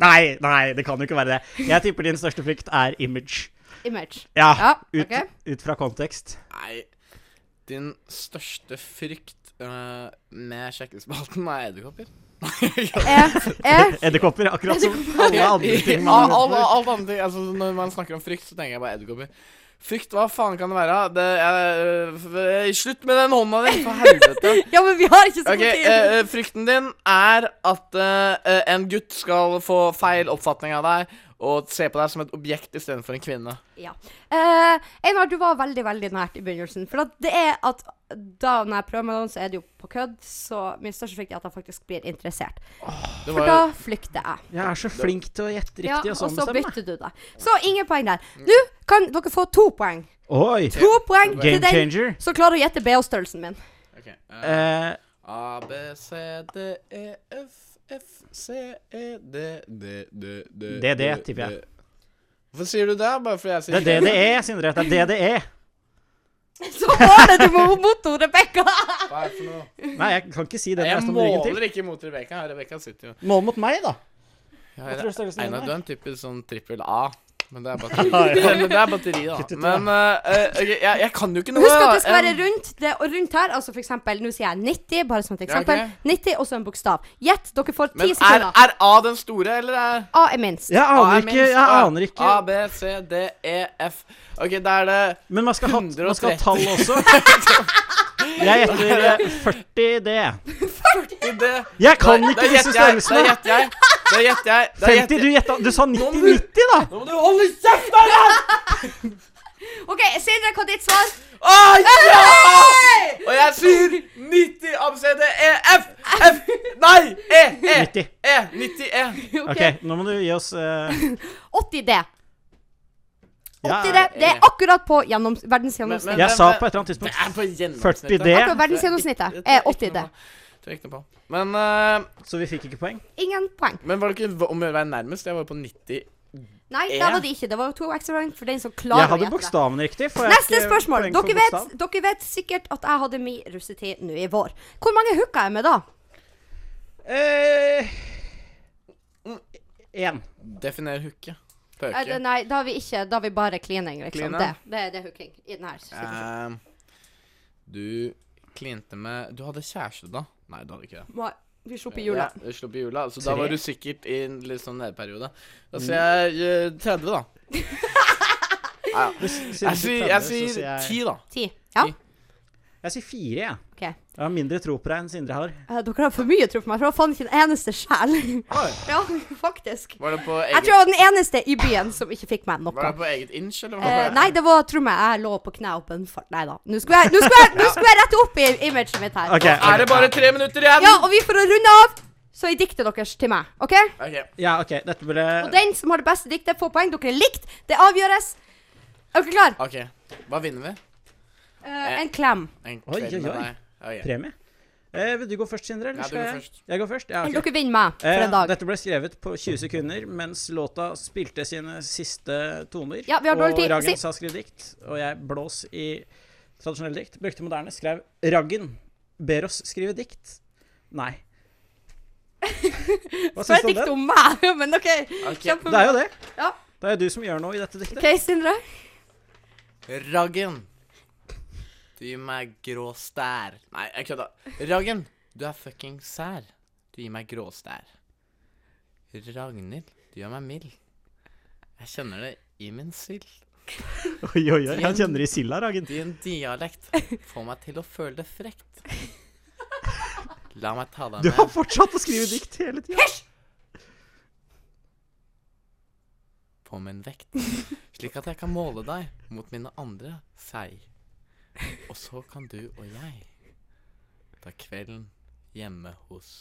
Speaker 3: Nei, nei, det kan jo ikke være det. Jeg tipper din største frykt er image.
Speaker 4: Image.
Speaker 3: Ja,
Speaker 4: Ja,
Speaker 3: ut,
Speaker 4: ok.
Speaker 3: ut fra kontekst.
Speaker 1: Nei, din største frykt eh, med kjekkespalten er edderkopper.
Speaker 4: Eh, eh,
Speaker 3: Edderkopper, akkurat som alle andre
Speaker 1: Ja,
Speaker 3: ting man
Speaker 1: alt,
Speaker 3: møter.
Speaker 1: alt annet ting. Altså, når man snakker om frykt, så tenker jeg bare edderkopper. Frykt, hva faen kan det være? Det er, øh, slutt med den hånda di, for helvete.
Speaker 4: ja, men vi har ikke så
Speaker 1: Ok,
Speaker 4: god tid.
Speaker 1: eh, eh, Frykten din er at eh, eh, en gutt skal få feil oppfatning av deg og se på deg som et objekt istedenfor en kvinne.
Speaker 4: Ja. Eh, Einar, du var veldig, veldig nært i begynnelsen. For at det er at da når jeg prøver med noen, så er det jo på kødd. Så min største frykt er at jeg faktisk blir interessert.
Speaker 1: Det
Speaker 4: For
Speaker 1: var
Speaker 4: da
Speaker 1: jo
Speaker 4: flykter jeg.
Speaker 3: Jeg er så flink til å gjette
Speaker 4: Ja,
Speaker 3: riktig, og
Speaker 4: og
Speaker 3: sånn
Speaker 4: så
Speaker 3: bestemmer jeg.
Speaker 4: bytter du deg. Så ingen poeng der. Nå kan dere få to poeng.
Speaker 3: Oi!
Speaker 4: To poeng til
Speaker 3: Game
Speaker 4: den
Speaker 3: changer.
Speaker 4: som klarer å gjette BH-størrelsen min.
Speaker 1: Ok, eh,
Speaker 3: Eh,
Speaker 1: A, B, C, D, E, F, F, C, E, D, D, D, D
Speaker 3: Det er det, tipper jeg.
Speaker 1: D. Hvorfor sier du det? Bare fordi jeg
Speaker 3: det
Speaker 1: sier
Speaker 3: er det det er, E. Sindre. Det er det det er.
Speaker 4: Så var det du må motto, Rebekka!
Speaker 1: Hva er det for noe?
Speaker 3: Nei, jeg kan ikke si det. når
Speaker 1: Jeg
Speaker 3: står med ryggen til.
Speaker 1: måler ikke mot Rebekka. Rebekka sitter jo
Speaker 3: Mål mot meg, da.
Speaker 1: Ja,
Speaker 3: tror du størrelsen din
Speaker 1: Einar,
Speaker 3: er?
Speaker 1: du er en typisk sånn trippel A. Men det er batteri,
Speaker 3: Ja, ja.
Speaker 1: men det er batteri da.
Speaker 3: Kutt ut, da.
Speaker 1: Men eh, ok, jeg, jeg kan jo ikke noe.
Speaker 4: Husk at det skal
Speaker 1: da.
Speaker 4: være
Speaker 1: En-
Speaker 4: rundt. Det, og rundt her, altså for eksempel, nå sier jeg 90, bare som et eksempel.
Speaker 1: Ja, ok.
Speaker 4: 90, og så en bokstav. Gjett, dere får
Speaker 1: Men
Speaker 4: ti
Speaker 1: er,
Speaker 4: sekunder.
Speaker 1: er A den store, eller er
Speaker 4: A er minst.
Speaker 3: Jeg
Speaker 1: A
Speaker 3: aner
Speaker 1: er
Speaker 3: ikke.
Speaker 1: minst?
Speaker 3: jeg
Speaker 1: A-
Speaker 3: aner ikke.
Speaker 1: A, B, C, D, E, F. OK, da er det
Speaker 3: Men man skal, ha, man skal ha
Speaker 1: 130.
Speaker 3: tall også. Jeg gjetter eh, 40 D.
Speaker 1: i det.
Speaker 3: Jeg kan
Speaker 1: Da- da
Speaker 3: ikke disse
Speaker 1: gjetter jeg- Da
Speaker 3: størrelsene.
Speaker 1: gjetter jeg. Da gjetter jeg. Da
Speaker 3: 50,
Speaker 1: gjetter
Speaker 3: du
Speaker 1: jeg.
Speaker 3: gjetta. Du sa
Speaker 1: må du-
Speaker 3: 90-90, da.
Speaker 1: Nå må du holde kjeft, da!
Speaker 4: OK, Sindre, hva er ditt svar?
Speaker 1: Å, ja! Og jeg sier 90 ABCD E F F Nei! E E
Speaker 3: 90.
Speaker 1: E 90 E.
Speaker 3: OK, nå må du gi oss eh,
Speaker 4: 80 D. 80 D.
Speaker 3: ja,
Speaker 4: Det er akkurat på gjennoms verdensgjennomsnitt.
Speaker 1: Men- men-
Speaker 3: Jeg sa på et eller annet
Speaker 1: Det er
Speaker 3: tidspunkt
Speaker 1: på
Speaker 3: 40
Speaker 1: gjennomsnittet.
Speaker 3: D.
Speaker 4: Akkurat verdensgjennomsnittet er 80 D.
Speaker 1: Det gikk det på. Men, eh,
Speaker 3: Så vi fikk ikke poeng.
Speaker 4: Ingen poeng.
Speaker 1: men var det ikke v- om å være nærmest? Jeg var på 90.
Speaker 4: Nei,
Speaker 1: Eh?
Speaker 4: det var det ikke. Det var to ekstra poeng for den som
Speaker 3: Jeg
Speaker 4: klarer å
Speaker 3: hadde
Speaker 4: gjette. det.
Speaker 3: bokstaven riktig. får jeg
Speaker 4: Neste
Speaker 3: ikke
Speaker 4: spørsmål.
Speaker 3: poeng for
Speaker 4: Dere vet,
Speaker 3: bokstav?
Speaker 4: dere vet sikkert at jeg hadde min russetid nå i vår. Hvor mange hooka jeg med da?
Speaker 3: Eh, Én.
Speaker 1: Definer hooke. På
Speaker 4: Eh,
Speaker 1: øke.
Speaker 4: Nei, da har vi ikke Da har vi bare cleaning, liksom.
Speaker 1: Cleaning.
Speaker 4: Det, det, det er hooking. I den her. situasjonen.
Speaker 1: Ehm, du klinte med Du hadde kjæreste da? Nei, du hadde ikke det.
Speaker 4: Nei, Vi slipper jula.
Speaker 1: Ja, slo på jula, så da
Speaker 3: Tre. Mm.
Speaker 1: var du sikkert i en litt sånn nedperiode. Da sier jeg eh, 30, da. Jeg sier, jeg sier 10, da.
Speaker 4: Ti. Ja,
Speaker 1: Ti.
Speaker 3: Jeg sier fire, jeg.
Speaker 4: OK. Eh,
Speaker 3: Jeg har mindre tro på deg enn Sindre har.
Speaker 4: Dere har for mye tro på meg, for jeg var faen ikke den eneste sjel. ja, faktisk.
Speaker 1: Var det på
Speaker 4: Jeg
Speaker 1: eget,
Speaker 4: tror jeg var den eneste i byen som ikke fikk med
Speaker 1: var
Speaker 4: noe.
Speaker 1: det på eget inch, eller? hva var
Speaker 4: Eh,
Speaker 1: det?
Speaker 4: nei, det var, tro meg, jeg lå på kne og bønnfalt. Nei da. Nå skulle jeg, nå skulle jeg, nå skulle jeg rette opp i imaget mitt her.
Speaker 1: Er det bare tre minutter igjen?
Speaker 4: Ja, og vi for å runde av, så er diktet deres til meg. OK?
Speaker 1: Ok.
Speaker 3: Ja, OK. Dette burde
Speaker 4: Og den som har det beste diktet, får poeng. Dere er likt. Det avgjøres. Er dere klare?
Speaker 1: OK. Hva vinner vi?
Speaker 4: Eh, en klem.
Speaker 1: En
Speaker 3: Oi,
Speaker 1: kveld
Speaker 3: oi,
Speaker 1: med
Speaker 3: oi.
Speaker 1: deg. Ok.
Speaker 3: Premie. Eh, vil du gå først, Sindre? Eller
Speaker 1: Ja, du
Speaker 3: skal
Speaker 1: går
Speaker 3: jeg?
Speaker 1: først.
Speaker 3: Jeg går først? Ja, ok.
Speaker 4: Dere vinner meg for
Speaker 3: Eh,
Speaker 4: en dag.
Speaker 3: dette ble skrevet på 20 sekunder mens låta spilte sine siste toner.
Speaker 4: Ja, vi har dårlig
Speaker 3: og
Speaker 4: tid.
Speaker 3: Raggen
Speaker 4: Si.
Speaker 3: sa skrev dikt, og jeg blås i tradisjonelle dikt. Brukte moderne, skrev Raggen ber oss skrive dikt. Nei. Hva
Speaker 4: Så er
Speaker 3: syns
Speaker 4: det
Speaker 3: du om sånn
Speaker 4: dikt
Speaker 3: det?
Speaker 4: om meg, men OK.
Speaker 1: Ok.
Speaker 3: Det er jo det.
Speaker 4: Ja.
Speaker 3: Det er jo du som gjør noe i dette diktet.
Speaker 4: OK, Sindre.
Speaker 1: Raggen. Du gir meg grå stær. Nei, jeg kødda. Raggen, du er fucking sær. Du gir meg grå stær. Ragnhild, du gjør meg mild. Jeg kjenner det i min sild.
Speaker 3: Oi, oi, oi. Han kjenner i silda, Raggen.
Speaker 1: Din dialekt får meg til å føle det frekt. La meg ta deg
Speaker 3: Du har
Speaker 1: med.
Speaker 3: fortsatt å skrive dikt hele tida.
Speaker 1: på min vekt, slik at jeg kan måle deg mot mine andre seig. Og så kan du og jeg ta kvelden hjemme hos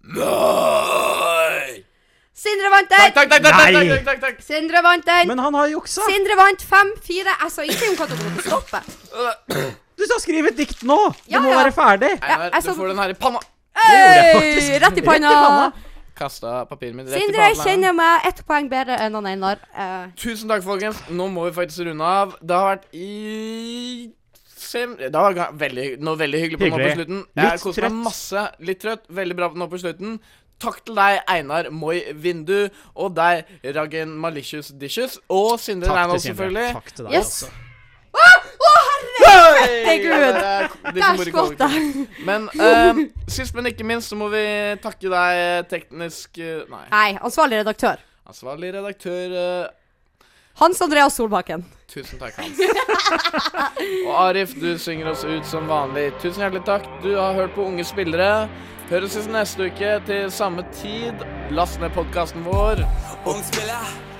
Speaker 1: Nei!
Speaker 4: Sindre vant
Speaker 1: Takk,
Speaker 4: den.
Speaker 1: takk, takk, takk,
Speaker 3: Nei!
Speaker 1: takk, takk, takk, takk.
Speaker 4: Sindre vant den.
Speaker 3: Men han har juksa!
Speaker 4: Sindre vant 5-4. Jeg sa ikke om hva dere måtte stoppe.
Speaker 3: Du skal skrive et dikt nå!
Speaker 4: Ja,
Speaker 3: det må
Speaker 4: ja.
Speaker 3: være ferdig!
Speaker 1: Einar,
Speaker 4: jeg
Speaker 1: du
Speaker 4: så-
Speaker 1: får den her i panna.
Speaker 4: Øy, rett i panna.
Speaker 1: Kasta papiret mitt rett i
Speaker 4: Sindre
Speaker 1: panna.
Speaker 4: kjenner meg ett poeng bedre enn han Einar. Eh,
Speaker 1: Tusen takk, folkens. Nå må vi faktisk runde av. Det har vært i sem- det har vært ga- veldig, noe veldig hyggelig på nå på
Speaker 3: Hyggelig.
Speaker 1: slutten.
Speaker 3: Litt
Speaker 1: Jeg koser meg
Speaker 3: trøtt.
Speaker 1: masse. Litt trøtt. Veldig bra nå på slutten. Takk til deg, Einar Moi Vindu, og deg, Raggen Malicious Dishes, og Sindre Reinhold, selvfølgelig.
Speaker 3: Takk til deg
Speaker 4: Yes.
Speaker 3: også.
Speaker 4: Å, herre
Speaker 1: Hei!
Speaker 4: Gud.
Speaker 1: Ja, det er de som
Speaker 4: Der
Speaker 1: bor i
Speaker 4: skvatt
Speaker 1: kollektiv.
Speaker 4: jeg.
Speaker 1: Men eh, sist, men ikke minst, så må vi takke deg, teknisk eh, Nei,
Speaker 4: Nei, ansvarlig redaktør.
Speaker 1: ansvarlig redaktør eh,
Speaker 4: Hans Andreas Solbakken.
Speaker 1: Tusen takk, Hans. Og Arif, du synger oss ut som vanlig. Tusen hjertelig takk. Du har hørt på Unge spillere. Høres oss neste uke til samme tid. Last ned podkasten vår.
Speaker 8: Ung spiller,